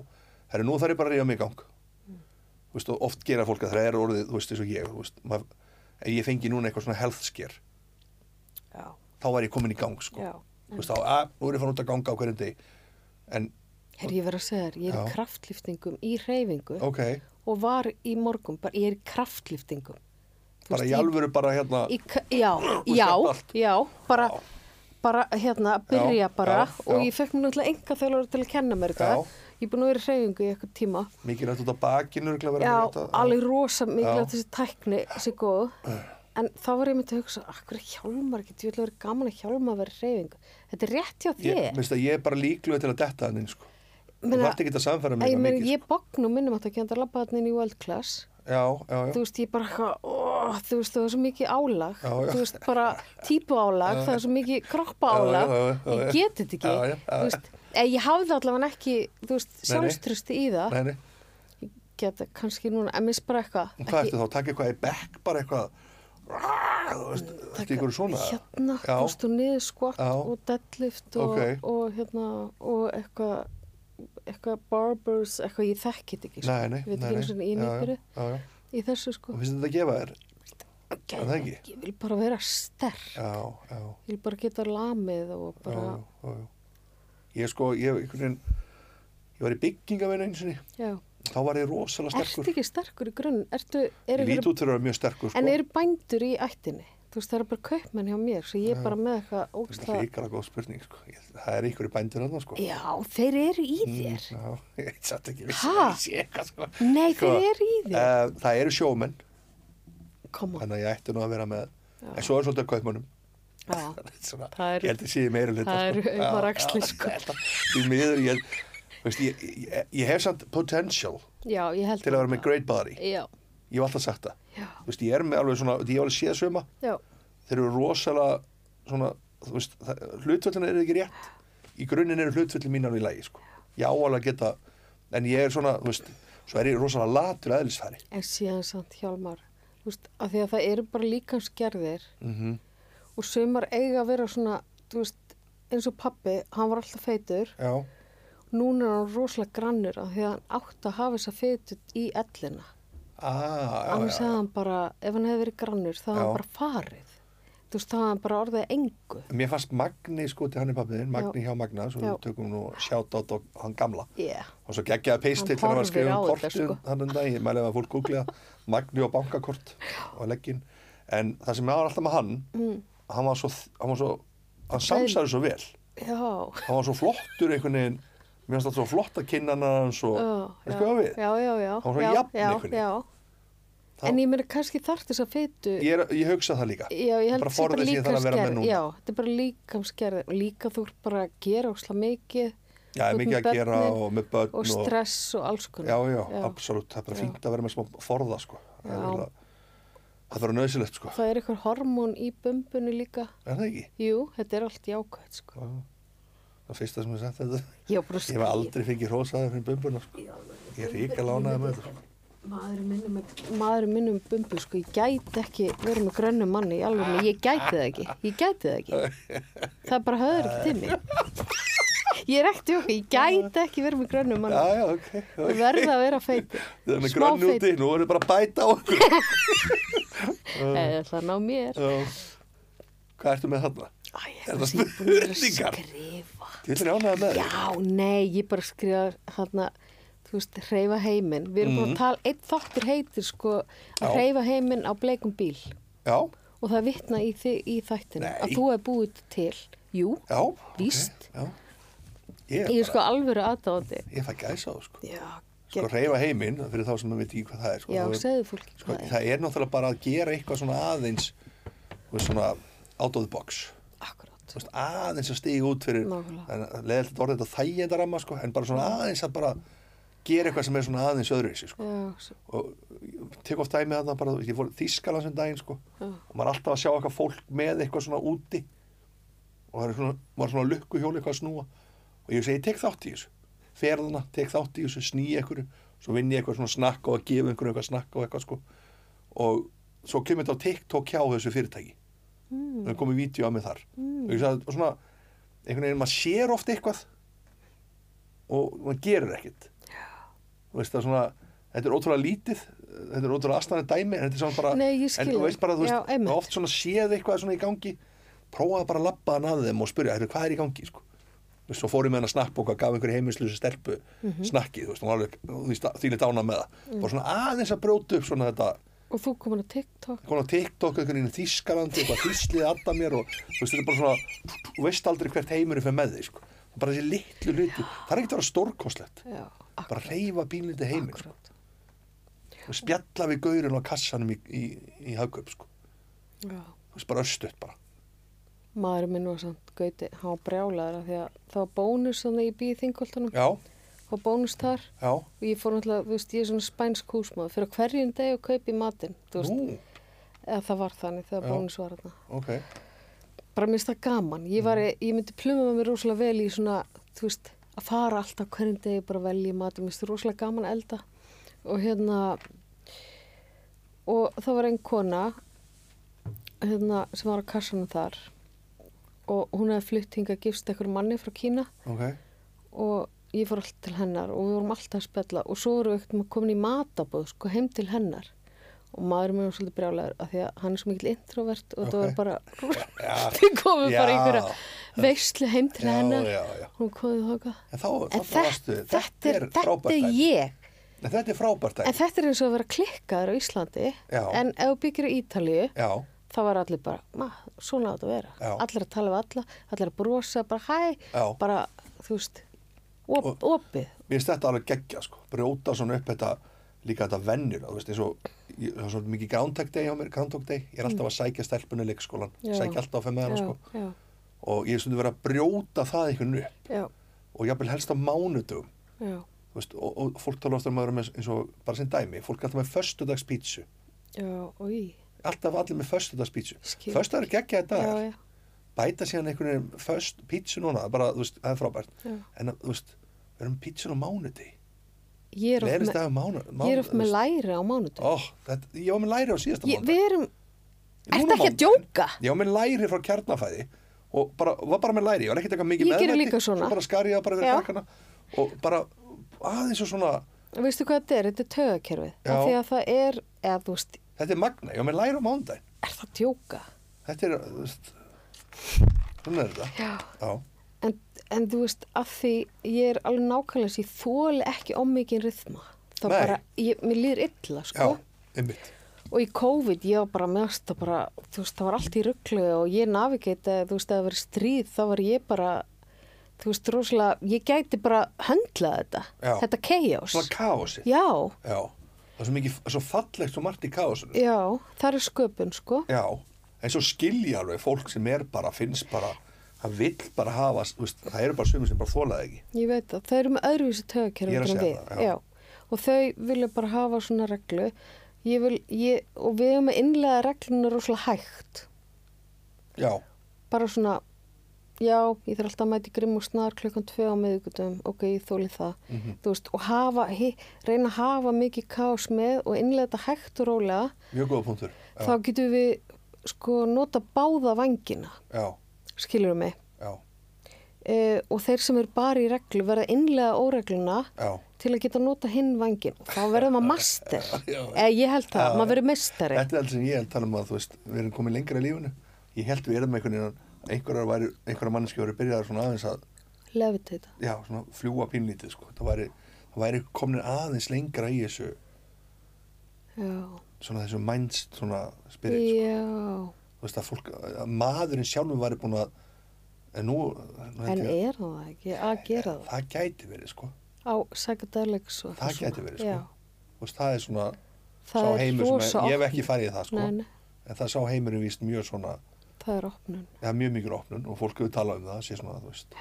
Speaker 1: herri, nú þarf ég bara að ríða mig í gang þú veist, og oft gera fólk að það er orðið, þú veist, eins og ég, þú veist, maður, ef ég fengi núna eitthvað svona health scare,
Speaker 2: Já,
Speaker 1: þá væri ég komin í gang, sko.
Speaker 2: já.
Speaker 1: Þú veist, þá, að, nú er ég fann út að ganga á hverjum deg, en,
Speaker 2: Herri, ég verið að segja þér, ég er í
Speaker 1: Já.
Speaker 2: kraftliftingum í reyfingu
Speaker 1: ok,
Speaker 2: og var í morgun, bara ég er í kraftliftingum. Þú
Speaker 1: bara
Speaker 2: veist,
Speaker 1: í alvöru bara hérna,
Speaker 2: í, k- já,
Speaker 1: veist,
Speaker 2: já,
Speaker 1: þetta allt.
Speaker 2: já, bara, bara hérna, byrja
Speaker 1: Já,
Speaker 2: bara
Speaker 1: já,
Speaker 2: og
Speaker 1: já.
Speaker 2: ég fekk mér náttúrulega enga þjálfur til að kenna mér
Speaker 1: Já.
Speaker 2: þetta. Ég er búin að vera í reyfingu í eitthvað tíma.
Speaker 1: mikið rætt út á bakinu, örugglega vera
Speaker 2: Já,
Speaker 1: með þetta,
Speaker 2: alveg rosa mikið
Speaker 1: Já.
Speaker 2: að þessi tækni sé góð. En þá var ég myndi að hugsa, akkur er hjálmar ekki, þú vil vera gaman að hjálma að vera í reyfingu. Þetta er rétt hjá
Speaker 1: Ég,
Speaker 2: þér.
Speaker 1: minnst að ég er bara líkluð til að detta hann inn, sko. Þú
Speaker 2: Meina-
Speaker 1: vart ekki að samfæra mig
Speaker 2: Ég,
Speaker 1: eitthvað
Speaker 2: meni,
Speaker 1: mikið,
Speaker 2: ég bókn og minnum átt að geta að labba þarna inn í world class
Speaker 1: sko. Já, já, já.
Speaker 2: þú veist, ég bara eitthvað, ó, þú veist, það var svo mikið álag
Speaker 1: Já, já.
Speaker 2: þú veist, bara típu álag það var svo mikið kroppa álag
Speaker 1: Já, já, já, já, já.
Speaker 2: ég get þetta ekki
Speaker 1: Já, já, já,
Speaker 2: þú
Speaker 1: já.
Speaker 2: veist, eh, ég hafði allavega ekki þú veist,
Speaker 1: Nei, nei.
Speaker 2: sjálfstrusti í það
Speaker 1: Nei, nei,
Speaker 2: geta kannski núna, en minnst bara eitthvað
Speaker 1: en hvað ertu þá? Takk eitthvað í bekk, bara eitthvað, rá, þú veist, þetta ykkur svona.
Speaker 2: hérna,
Speaker 1: Já.
Speaker 2: þú veist, og niður skott
Speaker 1: Já.
Speaker 2: og deadlift og,
Speaker 1: Ókei.
Speaker 2: og hérna, og eitthvað eitthvað barbers, eitthvað ég þekki þetta ekki, sko.
Speaker 1: Nei, nei,
Speaker 2: ég veit
Speaker 1: nei,
Speaker 2: ekki eins og
Speaker 1: nei.
Speaker 2: í
Speaker 1: Já, já,
Speaker 2: nýttur
Speaker 1: já, já.
Speaker 2: í þessu, sko
Speaker 1: Hvað finnst þetta að gefa þér? það ekki?
Speaker 2: ég vil bara vera sterk
Speaker 1: Já, já.
Speaker 2: Ég vil bara geta lamið og
Speaker 1: já,
Speaker 2: bara,
Speaker 1: já, já. Ég sko, ég, einhvern veginn, ég var í byggingaveinu einu sinni,
Speaker 2: já.
Speaker 1: þá var ég rosalega
Speaker 2: Ertu
Speaker 1: sterkur.
Speaker 2: ekki sterkur í grunn? Ertu, er
Speaker 1: Ég lít út fyrir að vera mjög sterkur, sko.
Speaker 2: En eru bændur í ættinni? Þú veist, það eru bara kaupmenn hjá mér, svo ég er bara með eitthvað
Speaker 1: Það er
Speaker 2: ógstlega.
Speaker 1: líkara góð spurning, sko. Ég, það er ykkur í bændur hann, sko.
Speaker 2: Já, þeir eru í þér.
Speaker 1: Mm, Já, ég veit satt ekki vissi
Speaker 2: Ha?
Speaker 1: að ég sé eitthvað, sko.
Speaker 2: Nei,
Speaker 1: Sko,
Speaker 2: þeir eru í þér.
Speaker 1: Uh, það eru sjómenn,
Speaker 2: Koma.
Speaker 1: þannig að ég ætti nú að vera með. En svo er svolítið að kaupmönnum.
Speaker 2: Já,
Speaker 1: svona,
Speaker 2: Það eru-
Speaker 1: ég held að sé meira hluta
Speaker 2: það
Speaker 1: sko.
Speaker 2: eru aumar axlir, sko.
Speaker 1: Já, já, þetta- Því miður, ég, veist, ég, ég, ég hef samt potential
Speaker 2: já, ég held
Speaker 1: til að vera með great body.
Speaker 2: Já,
Speaker 1: Ég hef alltaf sagt það.
Speaker 2: já,
Speaker 1: Þú veist, ég er með alveg svona, ég hef alveg séð svöma,
Speaker 2: já,
Speaker 1: þeir eru rosalega svona, þú veist, það- hlutföllin eru ekki rétt. Í grunninn eru hlutföllin mín alveg í lagi, sko. Ég á alveg að geta, en ég er svona, þú veist, svo er ég rosalega latur aðlisfæri.
Speaker 2: en síðan samt hjálmar. Þú veist, af því að það eru bara líkansgerðir
Speaker 1: Mm
Speaker 2: og sumar eiga að vera svona, þú veist, eins og pappi, hann var alltaf feitur
Speaker 1: Já,
Speaker 2: núna er hann rosalega grannur af því að hann átti að hafa þessa fetu í ellina.
Speaker 1: ah, já,
Speaker 2: Annars
Speaker 1: já,
Speaker 2: hefði
Speaker 1: já.
Speaker 2: hann bara, ef hann hefði verið grannur, þá hefði
Speaker 1: Já.
Speaker 2: hann bara farið. Þú veist, þá hefði hann bara orðið að engu.
Speaker 1: Mér fannst Magni, sko, til hann er pappiðin, Magni hjá Magna, svo
Speaker 2: Já.
Speaker 1: við tökum nú sjátt á hann gamla.
Speaker 2: Yeah.
Speaker 1: og svo geggjaði peistill
Speaker 2: Hann
Speaker 1: þegar hann var að
Speaker 2: horfir
Speaker 1: skrifa um kortin
Speaker 2: á þetta, sko.
Speaker 1: þannig að ég mæli að fólk googla Magni og bankakort og leggin en það sem ég var alltaf með hann
Speaker 2: Mm.
Speaker 1: hann var svo, hann var svo hann samsæði svo vel,
Speaker 2: Já.
Speaker 1: hann var svo flottur einhvern veginn, mér finnst það svo flott að kynna hann og,
Speaker 2: já,
Speaker 1: veist hvað á við
Speaker 2: já, já, já.
Speaker 1: Hann var svona
Speaker 2: já,
Speaker 1: jafn
Speaker 2: já,
Speaker 1: einhvern veginn.
Speaker 2: já.
Speaker 1: Þá-
Speaker 2: En ég meina kannski þarf þess að fetu.
Speaker 1: ég, er, ég hugsa það líka
Speaker 2: Já, ég held
Speaker 1: bara
Speaker 2: að sé
Speaker 1: forðið sem ég þarf að vera með
Speaker 2: líkamsgerð.
Speaker 1: núna.
Speaker 2: Já, þetta er bara líkamsgerð og líka þú ert bara að gera ósla mikið
Speaker 1: já,
Speaker 2: Þú ert
Speaker 1: mikið
Speaker 2: með
Speaker 1: að gera
Speaker 2: börnin
Speaker 1: og með börn
Speaker 2: og stress og alls
Speaker 1: já,
Speaker 2: konar
Speaker 1: já,
Speaker 2: Já.
Speaker 1: absolutt, það er bara
Speaker 2: Já.
Speaker 1: fínt að vera með smá forða sko. Það er
Speaker 2: Já.
Speaker 1: eiginlega- það verður nöðsilegt sko,
Speaker 2: Það er eitthvað hormón í bumbunni líka.
Speaker 1: er það ekki?
Speaker 2: Jú, þetta er allt jákvæmt, sko.
Speaker 1: Það er fyrsta sem ég sagt þetta
Speaker 2: Ég var bara að
Speaker 1: Ég hef
Speaker 2: skilja-
Speaker 1: aldrei fengið hrósaður fyrir bumbuna sko. Ég er ríka lánaði með þetta sko.
Speaker 2: Maðurinn minn er með- maðurinn minn er með bumbu, sko. Ég gæti ekki verið með grönnum manni í alveg. Ég gæti það ekki. Ég gæti það ekki. Það bara höður ekki til mig. Ég er ekkert okkur. Ég gæti ekki verið með grönnum
Speaker 1: Já,
Speaker 2: manni.
Speaker 1: já, ok,
Speaker 2: Ég
Speaker 1: ok
Speaker 2: verða að vera feiti.
Speaker 1: Það er með
Speaker 2: Smá
Speaker 1: grönn úti, nú erum við bara að bæta á okkur
Speaker 2: Eða það ná mér.
Speaker 1: Já. Hvað ertu með þarna?
Speaker 2: Æ,
Speaker 1: Er
Speaker 2: ég er
Speaker 1: það
Speaker 2: kannski búin að
Speaker 1: spurningar?
Speaker 2: skrifa.
Speaker 1: Ég ætlum ég ánaði með þig
Speaker 2: Já, nei, ég bara skrifa hérna, þú veist, reyfa heiminn. Við erum búin að tala, einn þáttur heitir sko
Speaker 1: Mhm. Já.
Speaker 2: að reyfa heiminn á bleikum bíl
Speaker 1: Já,
Speaker 2: og það vitna í, þi- í þættinu
Speaker 1: Nei.
Speaker 2: að þú er búið til, jú,
Speaker 1: já, ok,
Speaker 2: Víst.
Speaker 1: já. Ég,
Speaker 2: ég
Speaker 1: ég,
Speaker 2: er sko alvöru aðdáðandi.
Speaker 1: ég fæ gæsa á það, sko
Speaker 2: Já,
Speaker 1: Sko, reyfa heiminn, fyrir þá sem maður veit ekki hvað það er sko.
Speaker 2: já
Speaker 1: Þá er-
Speaker 2: segðu fólki
Speaker 1: sko,
Speaker 2: hvað það er.
Speaker 1: Það er náttúrulega bara að gera eitthvað svona aðeins þú veist, svona out of the box
Speaker 2: Akkurát.
Speaker 1: Þú veist, aðeins að stiga út fyrir
Speaker 2: Nákvæmlega.
Speaker 1: leðilegt að orða þetta þægjendaramma sko, en bara svona aðeins að bara gera eitthvað sem er svona aðeins öðruvísi sko.
Speaker 2: Já, svo,
Speaker 1: og ég tek oft dæmi þarna bara, ég fór þýskala sem daginn sko,
Speaker 2: Já.
Speaker 1: og maður er alltaf að sjá eitthvað fólk með eitthvað svona úti og það er svona, maður er svona lukkuhjóli eitthvað að snúa og ég segi, ég tek þátt í þessu ferðana, tek þátt í þessu, sný einhverju svo vinn ég eitthvað svona snakk og að gefa einhverju eitthvað snakk og eitthvað sko og svo kemur þetta á TikTok hjá þessu fyrirtæki mm. það er komið vídeo að mig þar
Speaker 2: Mm.
Speaker 1: og ég sagði, og svona einhvern veginn, maður sér oft eitthvað og maður gerir ekkert þú veist það er svona þetta er ótrúlega lítið, þetta er ótrúlega astanlega dæmi en þetta er svona bara,
Speaker 2: Nei, ég skil
Speaker 1: en þú
Speaker 2: það.
Speaker 1: veist bara þú
Speaker 2: Já,
Speaker 1: veist,
Speaker 2: einmitt.
Speaker 1: oft svona séð eitthvað svona í gangi prófaði bara að labba hann að þeim og spyrja "Heyrðu, hvað er í gangi sko Þú veist, svo fór ég með hann að snappbóka, gaf einhverju heiminslusi stelpu
Speaker 2: Mhm.
Speaker 1: snakkið, þú veist, hún var alveg þýlið dána með það,
Speaker 2: Mm.
Speaker 1: bara svona aðeins að brjóta upp svona þetta,
Speaker 2: og þú komin á TikTok.
Speaker 1: konar TikTok, einhvern veginn í Þískalandi, eitthvað hýslið að mér og þú veist, þetta er bara svona, þú veist aldrei hvert heimurinn fyrir með þig, sko, bara þessi litlu hluti, það er ekkert að vera stórkostlegt
Speaker 2: Já,
Speaker 1: bara
Speaker 2: akkurát.
Speaker 1: reyfa pínlítið heiminn sko.
Speaker 2: akkurát.
Speaker 1: og spjalla við gaurinn á kassanum í, í, í hagkaup sko.
Speaker 2: Já.
Speaker 1: þú veist bara östuðt bara
Speaker 2: Maðurinn minn var samt gauti, hann var brjálaður af því að það var bónus þannig ég býði þingoltanum
Speaker 1: já,
Speaker 2: og bónus þar
Speaker 1: já,
Speaker 2: og ég fór náttúrulega, þú veist, ég er svona spænsk húsmaður fyrir á hverjum deg og kaupi matinn þú veist,
Speaker 1: nú,
Speaker 2: eða það var þannig þegar
Speaker 1: Já.
Speaker 2: bónus var þarna
Speaker 1: ok
Speaker 2: bara mér finnst það gaman, ég, var, ég myndi pluma með mér rosalega vel í svona, þú veist að fara alltaf hverjum degi bara að velja í matinn mér finnst það rosalega gaman að elda og hérna og það var einn kona hérna, sem var á kassanum þar og hún hefði flutt hingað gifst ekkur manni frá Kína
Speaker 1: ok,
Speaker 2: og ég fór alltaf til hennar og við vorum alltaf að spjalla og svo vorum við ekkert komin í matabóð sko heim til hennar og maður minn var svolítið brjálæður af því að hann er svo mikil introvert og þetta var
Speaker 1: Ok.
Speaker 2: bara
Speaker 1: Já.
Speaker 2: þið komum bara
Speaker 1: Já.
Speaker 2: í einhverja veislu heim til
Speaker 1: Já,
Speaker 2: hennar
Speaker 1: já, já.
Speaker 2: hún komið þóka
Speaker 1: en þá,
Speaker 2: en
Speaker 1: þá varstu,
Speaker 2: þetta, þetta, er, þetta
Speaker 1: frábært
Speaker 2: er
Speaker 1: dæmi.
Speaker 2: ég
Speaker 1: Nei, þetta er frábært
Speaker 2: en
Speaker 1: dæmi
Speaker 2: þetta er eins og að vera klikkaður á Íslandi
Speaker 1: Já.
Speaker 2: en ef þú byggir í Ítalíu
Speaker 1: já,
Speaker 2: þá var allir bara, "Ma, svona átt að vera
Speaker 1: Já.
Speaker 2: allir að tala við alla, allir að brosa bara hæ,
Speaker 1: Já.
Speaker 2: bara þú veist op,
Speaker 1: Og-
Speaker 2: opið
Speaker 1: mér finnst þetta alveg geggja sko, brjóta svona upp þetta líka þetta vennir, þú veist, eins og ég- það er svona mikið groundhog day hjá mér, groundhog day ég er alltaf að sækja stelpunni í leikskólan
Speaker 2: Mm. Já.
Speaker 1: sækja alltaf að fem með hana
Speaker 2: já,
Speaker 1: sko
Speaker 2: já,
Speaker 1: og ég er svona verið að brjóta það einhvern upp
Speaker 2: já,
Speaker 1: og jafnvel helst á mánudum
Speaker 2: já,
Speaker 1: veist, og, og fólk tala ofta um að vera með eins og bara sem dæmi, fólk er alltaf með föstudagspítsu
Speaker 2: já, oi,
Speaker 1: alltaf allir með föstudagspítsu
Speaker 2: Skil.
Speaker 1: föstudagur geggja þetta
Speaker 2: já,
Speaker 1: er
Speaker 2: já,
Speaker 1: bæta síðan einhvern veginn föst pítsu núna, það er bara, þú veist, það er frábært
Speaker 2: Já.
Speaker 1: en þú veist, við erum pítsun á mánuði
Speaker 2: ég er oft
Speaker 1: leirist
Speaker 2: með,
Speaker 1: dag á mánu, mánu
Speaker 2: ég er oft með læri á mánutum.
Speaker 1: ó, þetta, ég var með læri á síðasta
Speaker 2: Ég,
Speaker 1: mánudag
Speaker 2: við erum,
Speaker 1: Núna
Speaker 2: ertu ekki að
Speaker 1: mánudaginn.
Speaker 2: djóka?
Speaker 1: ég var með læri frá kjarnafæði og bara, var bara með læri, ég var ekkert eitthvað mikið
Speaker 2: Ég geri
Speaker 1: meðlæti,
Speaker 2: líka svona.
Speaker 1: svo bara skar ég það bara
Speaker 2: Já.
Speaker 1: fyrir krakkana og bara aðeins og svona,
Speaker 2: Veistu hvað þetta er? Þetta er tögakerfið.
Speaker 1: Já.
Speaker 2: Af því að það er, eða þú veist,
Speaker 1: þetta er magna ég var með læri á mánudag
Speaker 2: er það að djóka?
Speaker 1: Þetta er, þú veist, svona er þetta.
Speaker 2: Já.
Speaker 1: Já,
Speaker 2: En, en þú veist, af því ég er alveg nákvæmlega sér, þóli ekki ómikinn rithma. Það
Speaker 1: Nei.
Speaker 2: bara, ég, mér líður illa,
Speaker 1: já,
Speaker 2: sko.
Speaker 1: einmitt.
Speaker 2: Og í COVID, ég var bara með það bara, þú veist, það var allt í rugglu og ég navigate, þú veist, að það verið stríð, þá var ég bara, þú veist, rosalega, ég gæti bara höndlað þetta,
Speaker 1: Já.
Speaker 2: þetta chaos.
Speaker 1: Svona kaosið.
Speaker 2: Já,
Speaker 1: Já. Það er svo mikið, svo fallegt svo margt í kaosinu.
Speaker 2: já, það er sköpun, sko.
Speaker 1: Já, en svo skilja alveg fólk sem er bara, finnst bara, það vill bara hafa, þú veist, það eru bara sumir sem bara þólaði ekki.
Speaker 2: Ég veit það, þau eru með öðruvísi tögakerfi
Speaker 1: Ég er að
Speaker 2: heldur en
Speaker 1: segja
Speaker 2: við.
Speaker 1: það, já.
Speaker 2: Og þau vilja bara hafa svona reglu. ég vil, ég, og við hefum að innlega regluna rosalega hægt
Speaker 1: já,
Speaker 2: bara svona já, ég þarf alltaf að mæta í grimm og snar klukkan tvö á miðvíkutum, ok, ég þóli það
Speaker 1: Mhm.
Speaker 2: þú veist, og hafa, hi, reyna að hafa mikið kás með og innlega þetta hægt og rólega,
Speaker 1: mjög góða punktur
Speaker 2: þá
Speaker 1: já,
Speaker 2: getum við sko nota báða vangina
Speaker 1: já,
Speaker 2: skilur mig
Speaker 1: já,
Speaker 2: e, og þeir sem eru bara í reglu verða innlega óregluna
Speaker 1: já,
Speaker 2: til að geta nota hinn vangin og þá verður maður master
Speaker 1: Já.
Speaker 2: eða ég held það,
Speaker 1: Já.
Speaker 2: maður verður mestari
Speaker 1: þetta er allt sem ég held tala um að þú veist, við erum komin lengra í lífinu ég held við erum einhvern veginn að einhverjar væri, einhverjar manneskja voru byrjaðar svona aðeins að
Speaker 2: levitata,
Speaker 1: já, svona fljúa pínlítið sko. það væri, það væri komin aðeins lengra í þessu
Speaker 2: já
Speaker 1: svona þessu mindst svona spirit sko.
Speaker 2: já,
Speaker 1: þú veist að fólk, að maðurinn sjálfur væri búin að en nú, nú held
Speaker 2: en
Speaker 1: ég
Speaker 2: er það ekki að gera það
Speaker 1: það gæti verið sko
Speaker 2: á psychedelics og
Speaker 1: Eh, það
Speaker 2: eitthvað
Speaker 1: gæti
Speaker 2: svona.
Speaker 1: verið sko
Speaker 2: Já.
Speaker 1: Þú veist, það er svona
Speaker 2: það
Speaker 1: sá
Speaker 2: er
Speaker 1: heimur
Speaker 2: rosa
Speaker 1: sem er, ég hef ekki
Speaker 2: opnun.
Speaker 1: farið í það sko
Speaker 2: nei, nei,
Speaker 1: en það sá heimurinn víst mjög svona
Speaker 2: það er opnun
Speaker 1: það er mjög mikil opnun og fólk hefur talað um það sé svona, þú veist,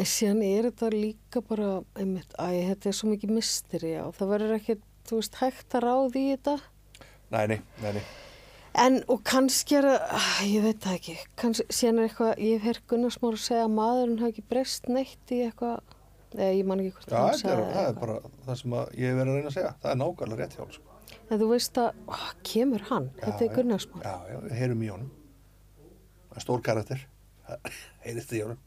Speaker 2: en síðan er þetta líka bara einmitt, æ, þetta er svo mikið misteri og það verður ekki, þú veist, hægt að ráði í þetta
Speaker 1: nei, nei, nei, nei.
Speaker 2: en, og kannski er það ah, ég veit það ekki, kannski, síðan er eitthvað ég hef hér Gunnarsmór að segja að maðurinn hafi ekki breyst neitt í eitthvað eða ég man ekki hvort
Speaker 1: Já,
Speaker 2: hann
Speaker 1: það, er,
Speaker 2: sagði
Speaker 1: það er
Speaker 2: eitthvað.
Speaker 1: bara það sem að ég hef verið að reyna að segja það er nákvæmlega rétt hjá hann, sko.
Speaker 2: en þú veist að, ó, kemur hann þetta
Speaker 1: Já,
Speaker 2: er Gunnarsmór
Speaker 1: já, já, við heyrum í honum það er stór karakter Það heyrist í honum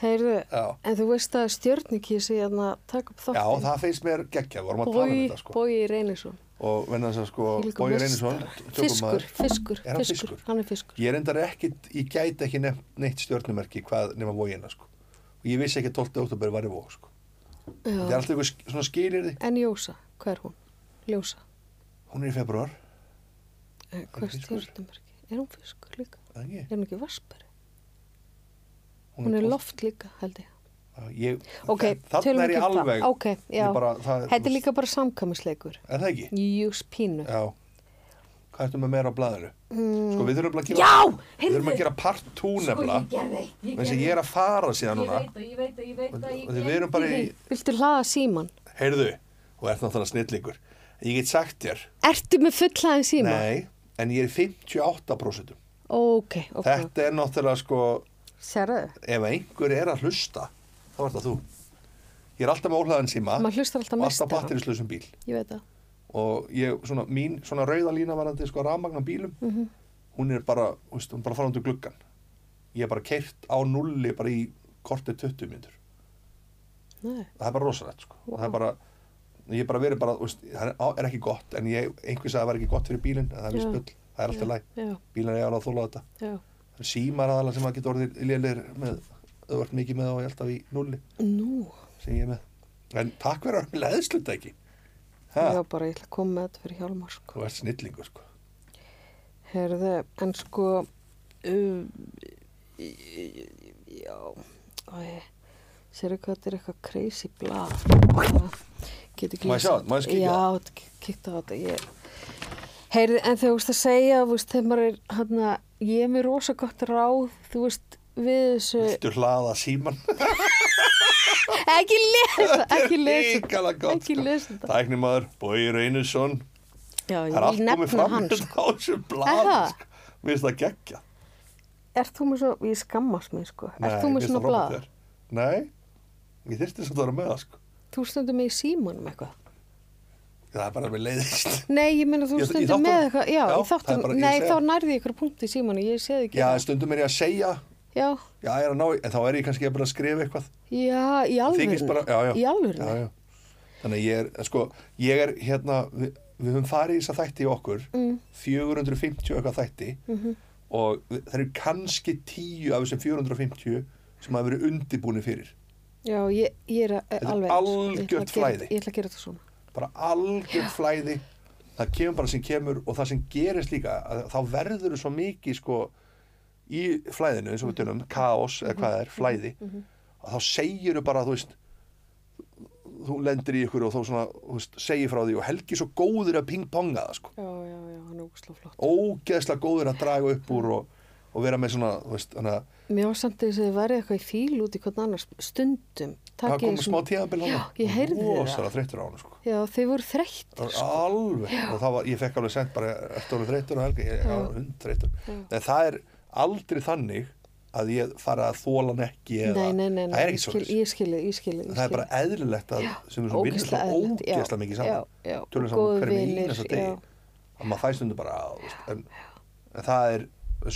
Speaker 2: Heyrðu,
Speaker 1: já,
Speaker 2: en þú veist að stjörnikísi hérna taka upp
Speaker 1: já
Speaker 2: þáttinn
Speaker 1: það finnst mér geggjað, vorum að tala um
Speaker 2: Bói,
Speaker 1: þetta sko.
Speaker 2: Bói Reynisson
Speaker 1: og venna þess að sko,
Speaker 2: Þvílíkur
Speaker 1: Bói
Speaker 2: meistari.
Speaker 1: Reynisson
Speaker 2: fiskur,
Speaker 1: tökumaður-
Speaker 2: fiskur,
Speaker 1: Er hann
Speaker 2: fiskur,
Speaker 1: fiskur?
Speaker 2: hann er fiskur
Speaker 1: ég reyndar ekkit, ég gæti ekki nefnt neitt stjórnumerki hvað nema vógina sko. og ég vissi ekki að 12. oktober var í vóg sko. þetta er
Speaker 2: Já.
Speaker 1: alltaf eitthvað sk- svona skilirði
Speaker 2: en Jósa, hvað er hún? Ljósa,
Speaker 1: hún er í februar,
Speaker 2: Eh, hvað er
Speaker 1: fiskur.
Speaker 2: stjórnumerki? Er hún fiskur líka?
Speaker 1: er það
Speaker 2: Er
Speaker 1: ekki?
Speaker 2: hún ekki vaspari? Hún er loft líka, held ég
Speaker 1: Já, ég,
Speaker 2: Ok,
Speaker 1: þannig
Speaker 2: tölum
Speaker 1: er
Speaker 2: ekki
Speaker 1: ég
Speaker 2: um það.
Speaker 1: alveg
Speaker 2: Ok,
Speaker 1: ég
Speaker 2: já.
Speaker 1: bara, það,
Speaker 2: Þetta er líka bara samkvæmisleikur
Speaker 1: er það ekki?
Speaker 2: Jús pínu
Speaker 1: já, hvað ertu með meira á blaðinu? sko við þurfum að gera
Speaker 2: Hmm. Já,
Speaker 1: við
Speaker 2: heyrðu Sko,
Speaker 1: þurfum að gera part 2 nefnilega þess að ég er að fara síðan núna
Speaker 4: ég veit að, ég veit að,
Speaker 1: og því við erum bara í,
Speaker 2: Viltu hlaða síman?
Speaker 1: heyrðu og ert náttúrulega snillingur ég get sagt þér,
Speaker 2: Ertu með fullhlaðin síma?
Speaker 1: nei en ég er í 58%
Speaker 2: Ok, ok
Speaker 1: þetta er náttúrulega sko
Speaker 2: Sérðu?
Speaker 1: ef einhver er að hlusta þá er það þú ég er alltaf með óhlaðan síma
Speaker 2: Maður hlustar alltaf
Speaker 1: og alltaf
Speaker 2: mest
Speaker 1: batterislausum bíl
Speaker 2: Ég veit það
Speaker 1: og ég, svona, mín svona rauða lína varandi sko rafmagna bílum
Speaker 2: Mhm.
Speaker 1: hún er bara, þú veist, hún er bara farandi gluggan ég er bara keirt á nulli bara í kortið 20 mínútur
Speaker 2: Nei,
Speaker 1: það er bara rosalegt sko.
Speaker 2: Vá.
Speaker 1: það er bara, ég er bara verið bara þú veist, það er- á- er ekki gott, en ég, einhver sagði að það var ekki gott fyrir bílinn, en það er
Speaker 2: Já.
Speaker 1: vist bull það er alltaf
Speaker 2: Já,
Speaker 1: læg,
Speaker 2: já.
Speaker 1: bílinn er alveg að þóla þetta
Speaker 2: já
Speaker 1: það er símar aðalega sem að geta orðið lélir með, þú ert mikið með og ég alltaf í nulli
Speaker 2: Nú
Speaker 1: sem ég er með en takk fyrir að leðsluta ekki ha,
Speaker 2: Já, bara ég ætla að koma með þetta fyrir Hjálmar sko.
Speaker 1: þú ert snillingu sko.
Speaker 2: Herðu, en sko um, í- í- í- Já Æ, Sérðu hvað þetta er eitthvað crazy blað Get ekki
Speaker 1: Má ég
Speaker 2: lesið
Speaker 1: sjá þetta? Má ég kíkja?
Speaker 2: Já, k- kíktu á þetta ég... Heyrðu, en þegar þú veist að segja þú veist, þegar maður er, hann ég er mér rosa gott ráð, þú veist við þessu,
Speaker 1: Viltu hlaða síman?
Speaker 2: ekki lesa ekki lesa,
Speaker 1: Ríkala gott sko.
Speaker 2: ekki lesa þetta.
Speaker 1: Tæknimaður, Bói Reynisson
Speaker 2: já,
Speaker 1: Það
Speaker 2: ég
Speaker 1: er allt
Speaker 2: vil
Speaker 1: komið
Speaker 2: nefna
Speaker 1: fram
Speaker 2: hann
Speaker 1: með
Speaker 2: sko.
Speaker 1: þetta á þessu
Speaker 2: Er
Speaker 1: blad
Speaker 2: það?
Speaker 1: sko. Mér finnst það geggja
Speaker 2: Er þú með svo, ég skammast mig sko, er þú með svona blað?
Speaker 1: Nei, ég þyrfti samt að vera með það sko.
Speaker 2: Þú stundum með í símanum eitthvað?
Speaker 1: Það er bara með leiðist
Speaker 2: Nei, ég meina þú
Speaker 1: Í- í
Speaker 2: stundum
Speaker 1: þáttunum?
Speaker 2: með eitthvað, já,
Speaker 1: Já,
Speaker 2: í þáttum,
Speaker 1: það er bara- ég
Speaker 2: nei,
Speaker 1: segi
Speaker 2: þá
Speaker 1: það.
Speaker 2: nærði ég ykkur punkti í símanu, ég séð ekki
Speaker 1: Já,
Speaker 2: það.
Speaker 1: stundum er ég að segja
Speaker 2: Já,
Speaker 1: Já, ég er að ná, í- en þá er ég kannski að bara að skrifa eitthvað
Speaker 2: já, í
Speaker 1: Þykist
Speaker 2: alvörinu,
Speaker 1: bara, já, já.
Speaker 2: í alvörinu,
Speaker 1: já, já. Þannig að ég er, sko, ég er hérna, við, við höfum farið í þess að þætti í okkur, 450 eitthvað þætti og við- það eru kannski 10 af þessum 450 sem hafa verið undirbúni fyrir.
Speaker 2: já, ég, ég er að-
Speaker 1: er
Speaker 2: alveg,
Speaker 1: algjört
Speaker 2: ég ætla að gera-
Speaker 1: flæði.
Speaker 2: Ég ætla að gera þetta svona,
Speaker 1: Bara algjör flæði, það kemur bara sem kemur og það sem gerist líka, að þá verður þú svo mikið, sko, í flæðinu, eins og
Speaker 2: Mhm.
Speaker 1: við tölum, um, kaos eða hvað það er, flæði, að þá segir þú bara, þú veist, þú lendir í ykkur og þá svona, þú veist, segir frá því og Helgi er svo góður að pingponga það, sko.
Speaker 2: já, já, já, hann er úkslega flott.
Speaker 1: ógeðslega góður að draga upp úr og, og vera með svona, þú veist, þannig að
Speaker 2: Mér var samt að þess að þið væri eitthvað í fíl út í hvern annars stundum.
Speaker 1: það komið smá tíðanbíl
Speaker 2: Já, ég heyrði það.
Speaker 1: Rósalega þreyttur á hann, sko.
Speaker 2: Já, þeir voru þreytt.
Speaker 1: Það var alveg, og það var, ég fekk alveg sendt bara, ertu alveg þreyttur og helgi, ég var hund þreyttur. En það er aldrei þannig að ég fara að þóla hann ekki eða,
Speaker 2: Nei, nei, nei, nei.
Speaker 1: það er ekki
Speaker 2: ég
Speaker 1: svo
Speaker 2: skil- Ég skilði, ég skilði.
Speaker 1: það er bara eðlilegt að sem er svo vinnur svo ógeðslega mikið saman
Speaker 2: Já, já.
Speaker 1: tölum
Speaker 2: og
Speaker 1: saman
Speaker 2: góðir
Speaker 1: hverjum í
Speaker 2: vinir,
Speaker 1: eins og degi
Speaker 2: já.
Speaker 1: að maður fæst undir bara á, veist, en, en það er,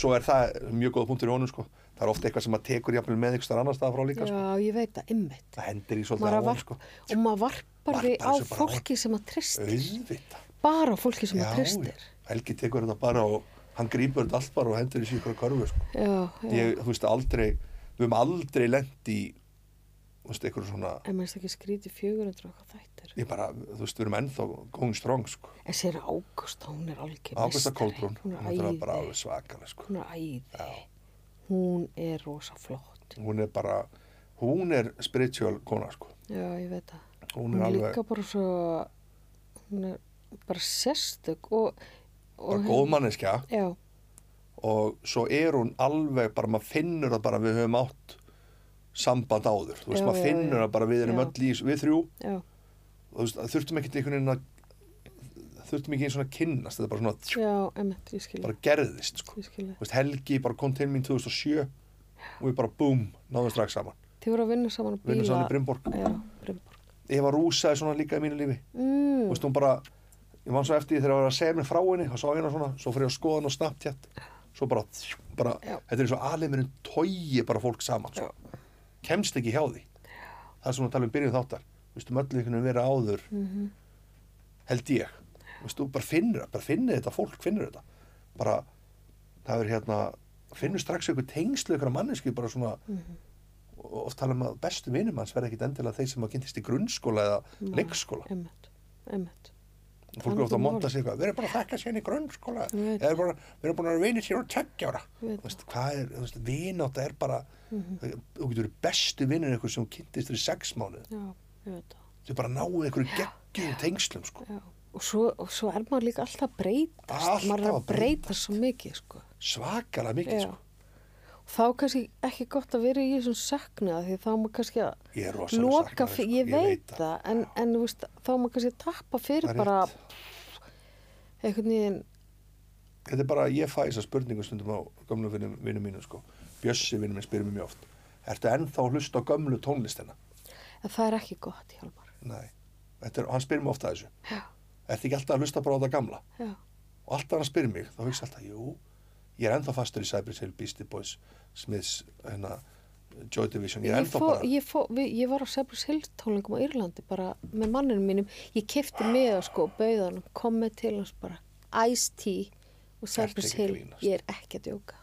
Speaker 1: svo er það mjög góða punktur í honum sko, það er ofta eitthvað sem maður tekur jafnvel með einhver starf annar staðar frá líka sko.
Speaker 2: Já, ég veit það, ymmit.
Speaker 1: það hendir í
Speaker 2: Maður
Speaker 1: svolítið á honum
Speaker 2: að varpa,
Speaker 1: sko
Speaker 2: og maður varpar því
Speaker 1: Varpar
Speaker 2: á
Speaker 1: þessu bara á
Speaker 2: fólki sem að tristir.
Speaker 1: auðvita,
Speaker 2: Bara á fólki sem að
Speaker 1: já,
Speaker 2: tristir.
Speaker 1: Helgi tekur þetta bara og hann grýpur þetta allt bara og hendur í síkra körfu sko
Speaker 2: Já, já.
Speaker 1: ég, þú veist, aldrei, við höfum aldrei lent í, þú veist, einhverjum svona
Speaker 2: En maður ekki skríti 400 og hvað þættir.
Speaker 1: ég bara, þú veist, við erum ennþá going strong sko
Speaker 2: En sér Ágústa, hún er algjör
Speaker 1: Ágæsta
Speaker 2: meistari.
Speaker 1: Kolbrún,
Speaker 2: Hún er
Speaker 1: náttúrulega bara
Speaker 2: æði.
Speaker 1: alveg svakalega sko.
Speaker 2: Hún er æði.
Speaker 1: Já.
Speaker 2: Hún er rosa flott.
Speaker 1: Hún er bara, hún er spiritual kona sko.
Speaker 2: Já, ég veit það.
Speaker 1: Hún er alveg
Speaker 2: líka bara svo, hún er bara sérstök og... og
Speaker 1: bara góð manneskja
Speaker 2: Já,
Speaker 1: og svo er hún alveg bara, maður finnur það bara að við höfum átt samband áður, þú veist,
Speaker 2: Já,
Speaker 1: maður
Speaker 2: já,
Speaker 1: finnur
Speaker 2: já.
Speaker 1: það bara við erum
Speaker 2: Já.
Speaker 1: öll í, þessu- við þrjú
Speaker 2: já,
Speaker 1: þú veist, að þurftum ekkert einhvern veginn að þurftum ekki einn svona að kynnast, þetta er bara svona
Speaker 2: já, emmitt, ég skilja.
Speaker 1: bara gerðist sko.
Speaker 2: Ég skilja.
Speaker 1: Þú veist, Helgi bara kom til mín 2007 og við bara búm, náðum strax saman
Speaker 2: Þið voru að vinna saman á bíla.
Speaker 1: Vinnum saman í Brimborg.
Speaker 2: Já, Brimborg.
Speaker 1: Eva Rúsa er svona líka í mínu lífi
Speaker 2: Mm,
Speaker 1: Þú veist, hún bara, ég man svo eftir því þegar ég var að segja mér frá henni, þá sá ég henni svona, svo fyrir ég að skoða henni og snabbt hér, svo bara, bara
Speaker 2: Já.
Speaker 1: þetta er eins og alheimurinn tógi bara fólk saman, sko. kemst ekki hjá því. Það er svona að tala um byrjun þáttar, þú veist, um öllu einhvern veginn vera áður, held ég, þú veist, þú bara finnur, það, bara finnir þetta, fólk finnur þetta, bara, það er hérna, finnur strax einhver tengslu einhverja mannesku, bara svona, og oft tala um að bestu vinum hans verða ekkit endilega þeir sem að kynntist í grunnskóla eða leikskóla
Speaker 2: Emmitt, emmitt.
Speaker 1: fólk
Speaker 2: Þannig
Speaker 1: er ofta að
Speaker 2: mál.
Speaker 1: monta sig eitthvað við erum bara að þekka síðan í grunnskóla
Speaker 2: Ég veit.
Speaker 1: við erum bara, við erum bara að vinna sér úr tveggjára
Speaker 2: Ég veit. Mhm.
Speaker 1: hvað er, þú veist, vinátt er bara þú getur verið bestu vinnir einhver sem þú kynntist fyrir sex mánuð
Speaker 2: Já, ég veit það.
Speaker 1: þau bara náu einhverju geggjum tengslum sko.
Speaker 2: Já. Og svo, og svo er maður líka alltaf að breytast.
Speaker 1: Alltaf
Speaker 2: Maður er
Speaker 1: að
Speaker 2: að breytast svo mikið, sko.
Speaker 1: svakalega mikið
Speaker 2: Já.
Speaker 1: sko.
Speaker 2: Og þá er kannski ekki gott að vera í þessum saknaða því þá er maður kannski að
Speaker 1: ég er rosalega
Speaker 2: loka
Speaker 1: saknaður, sko.
Speaker 2: fyrir, ég, veit það, en, en þú veist, þá er maður kannski að tappa
Speaker 1: Það
Speaker 2: fyrir
Speaker 1: er
Speaker 2: bara
Speaker 1: rétt.
Speaker 2: einhvern veginn,
Speaker 1: þetta er bara, ég fæ þessar spurningu stundum á gömlu vinnum, vinnum mínu sko. Bjössi vinnum minn spyrir mér mjög oft ertu ennþá að hlusta á gömlu tónlistina
Speaker 2: að það er ekki gott, Hjálmar.
Speaker 1: nei, Þetta er, hann spyrir mér ofta þessu
Speaker 2: Já,
Speaker 1: ertu ekki alltaf að hlusta bara á það gamla
Speaker 2: já,
Speaker 1: og alltaf hann spyrir mig, þá hugsa ég alltaf, jú, ég er ennþá fastur í Cypress Hill, Beastie Boys, Smiths, hérna, Joy Division, ég er
Speaker 2: ég,
Speaker 1: ennþá
Speaker 2: fó,
Speaker 1: bara,
Speaker 2: ég, fó, við, ég var á Cypress Hill tónleikum á Írlandi bara með manninu mínum, ég kefti með það sko og bauði hann, kom með til hans bara Ice-T og Cypress
Speaker 1: ekki að
Speaker 2: Hill,
Speaker 1: grínast.
Speaker 2: ég er ekki að djóka.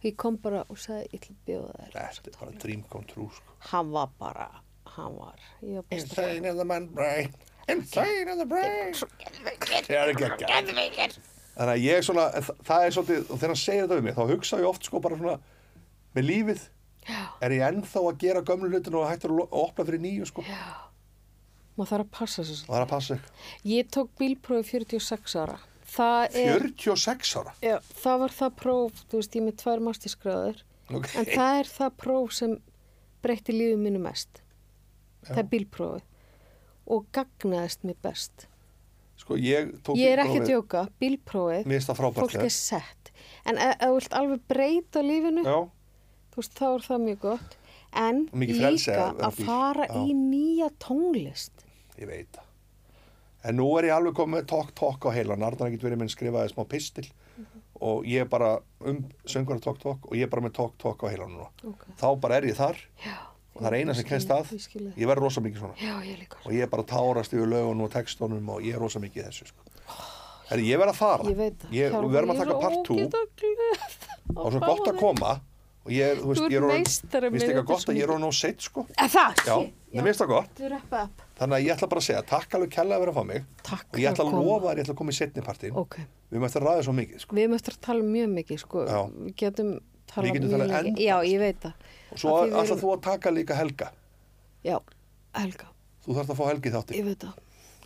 Speaker 2: Ég kom bara og sagði, ég ætla að bjóða þér. á þessa
Speaker 1: þetta er bara
Speaker 2: tónleika."
Speaker 1: dream come true, sko.
Speaker 2: Hann var bara, hann var, ég var bara strax-
Speaker 1: Insane of the man brain, insane of the brain. Það er ekki ekki. Þannig að ég svona, en þa- það er svolítið, og þegar hann segir þetta við mig, þá hugsa ég oft sko bara svona, með lífið,
Speaker 2: Já.
Speaker 1: er ég ennþá að gera gömlu hlutinu og hættur að lo- að opna fyrir nýju, sko, og
Speaker 2: maður þarf að passa sér svolítið.
Speaker 1: það er að passa ekki.
Speaker 2: Ég tók bílprófi 46 ára. Það er,
Speaker 1: 46 ára.
Speaker 2: já, það var það próf, þú veist, ég er með tvær mastisgráður,
Speaker 1: Ok.
Speaker 2: en það er það próf sem breytti lífið mínu mest. Það er bílprófið og gagnaðist mér best.
Speaker 1: Sko, ég tók
Speaker 2: Ég er ekki að
Speaker 1: prófið-
Speaker 2: djóka, bílprófið,
Speaker 1: Mér finnst það frábært, sko.
Speaker 2: fólk
Speaker 1: ja.
Speaker 2: er sett. En ef ef þú vilt alveg breyta lífinu,
Speaker 1: Já,
Speaker 2: þú veist, þá er það mjög gott. En
Speaker 1: Og mikið
Speaker 2: líka
Speaker 1: frelsi að vera
Speaker 2: að
Speaker 1: bíl,
Speaker 2: fara
Speaker 1: já.
Speaker 2: í nýja tónlist.
Speaker 1: Ég veit það. En nú er ég alveg komið með tók tók á heila. Nardan getur verið minn skrifaði smá pistil
Speaker 2: Mhm.
Speaker 1: og ég er bara um söngvara tók tók og ég er bara með tók tók á heila núna.
Speaker 2: Ok.
Speaker 1: Þá bara er ég þar
Speaker 2: Já.
Speaker 1: og það er eina sem kennst að.
Speaker 2: Mm. Ég skil það.
Speaker 1: Ég verð rosa mikið svona.
Speaker 2: Já, ég líka.
Speaker 1: Og ég er bara að tárast yfir lögunum og textunum og ég er rosa mikið í þessu. Sko. Herri, ég verð að fara.
Speaker 2: Ég veit það.
Speaker 1: Ég, við verðum að taka part 2
Speaker 2: Ég er ógeðslega glöð.
Speaker 1: og svo gott að koma og ég er, þú veist,
Speaker 2: Þú ert
Speaker 1: ég er orðinn-
Speaker 2: meistari
Speaker 1: Mér finnst
Speaker 2: minn,
Speaker 1: eitthvað
Speaker 2: þetta er
Speaker 1: gott
Speaker 2: svo
Speaker 1: að ég er
Speaker 2: mikið.
Speaker 1: orðin of seinn, sko.
Speaker 2: Að það?
Speaker 1: Já, mér finnst það gott.
Speaker 2: Þú reppa upp.
Speaker 1: Þannig að ég ætla bara að segja, takk alveg kella að vera að fá mig
Speaker 2: Takk
Speaker 1: og ég ætla
Speaker 2: fyrir
Speaker 1: að
Speaker 2: að koma.
Speaker 1: lofa þér, ég ætla að koma í setni partin
Speaker 2: Ok.
Speaker 1: Við erum eftir að ræða svo mikið, sko.
Speaker 2: Við erum eftir að tala mjög mikið, sko.
Speaker 1: Já.
Speaker 2: Við getum talað
Speaker 1: Við getum
Speaker 2: mjög
Speaker 1: talað endalaust.
Speaker 2: lengi. Já, ég veit það.
Speaker 1: Og svo
Speaker 2: Af því við
Speaker 1: ætla
Speaker 2: erum-
Speaker 1: þú að taka líka Helga.
Speaker 2: Já, Helga,
Speaker 1: Þú þarf að fá Helgi þáttir.
Speaker 2: ég veit það.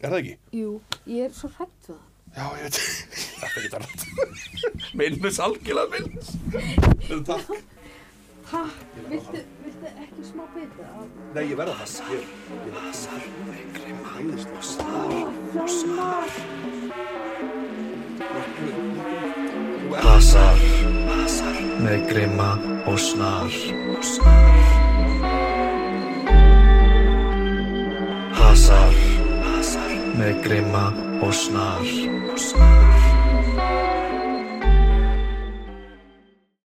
Speaker 1: Er það ekki?
Speaker 2: Jú, ég er svo hrætt við það.
Speaker 1: Já, ég veit Þetta er ekki annað Minnus algjörlega minns Takk
Speaker 2: Hæ? Viltu, viltu ekki smá bita?
Speaker 1: Nei, ég verða það Ég, ég, ég hæðist það
Speaker 2: Hjalmar!
Speaker 3: Basar Með grima og snar Hasar Með grima og snar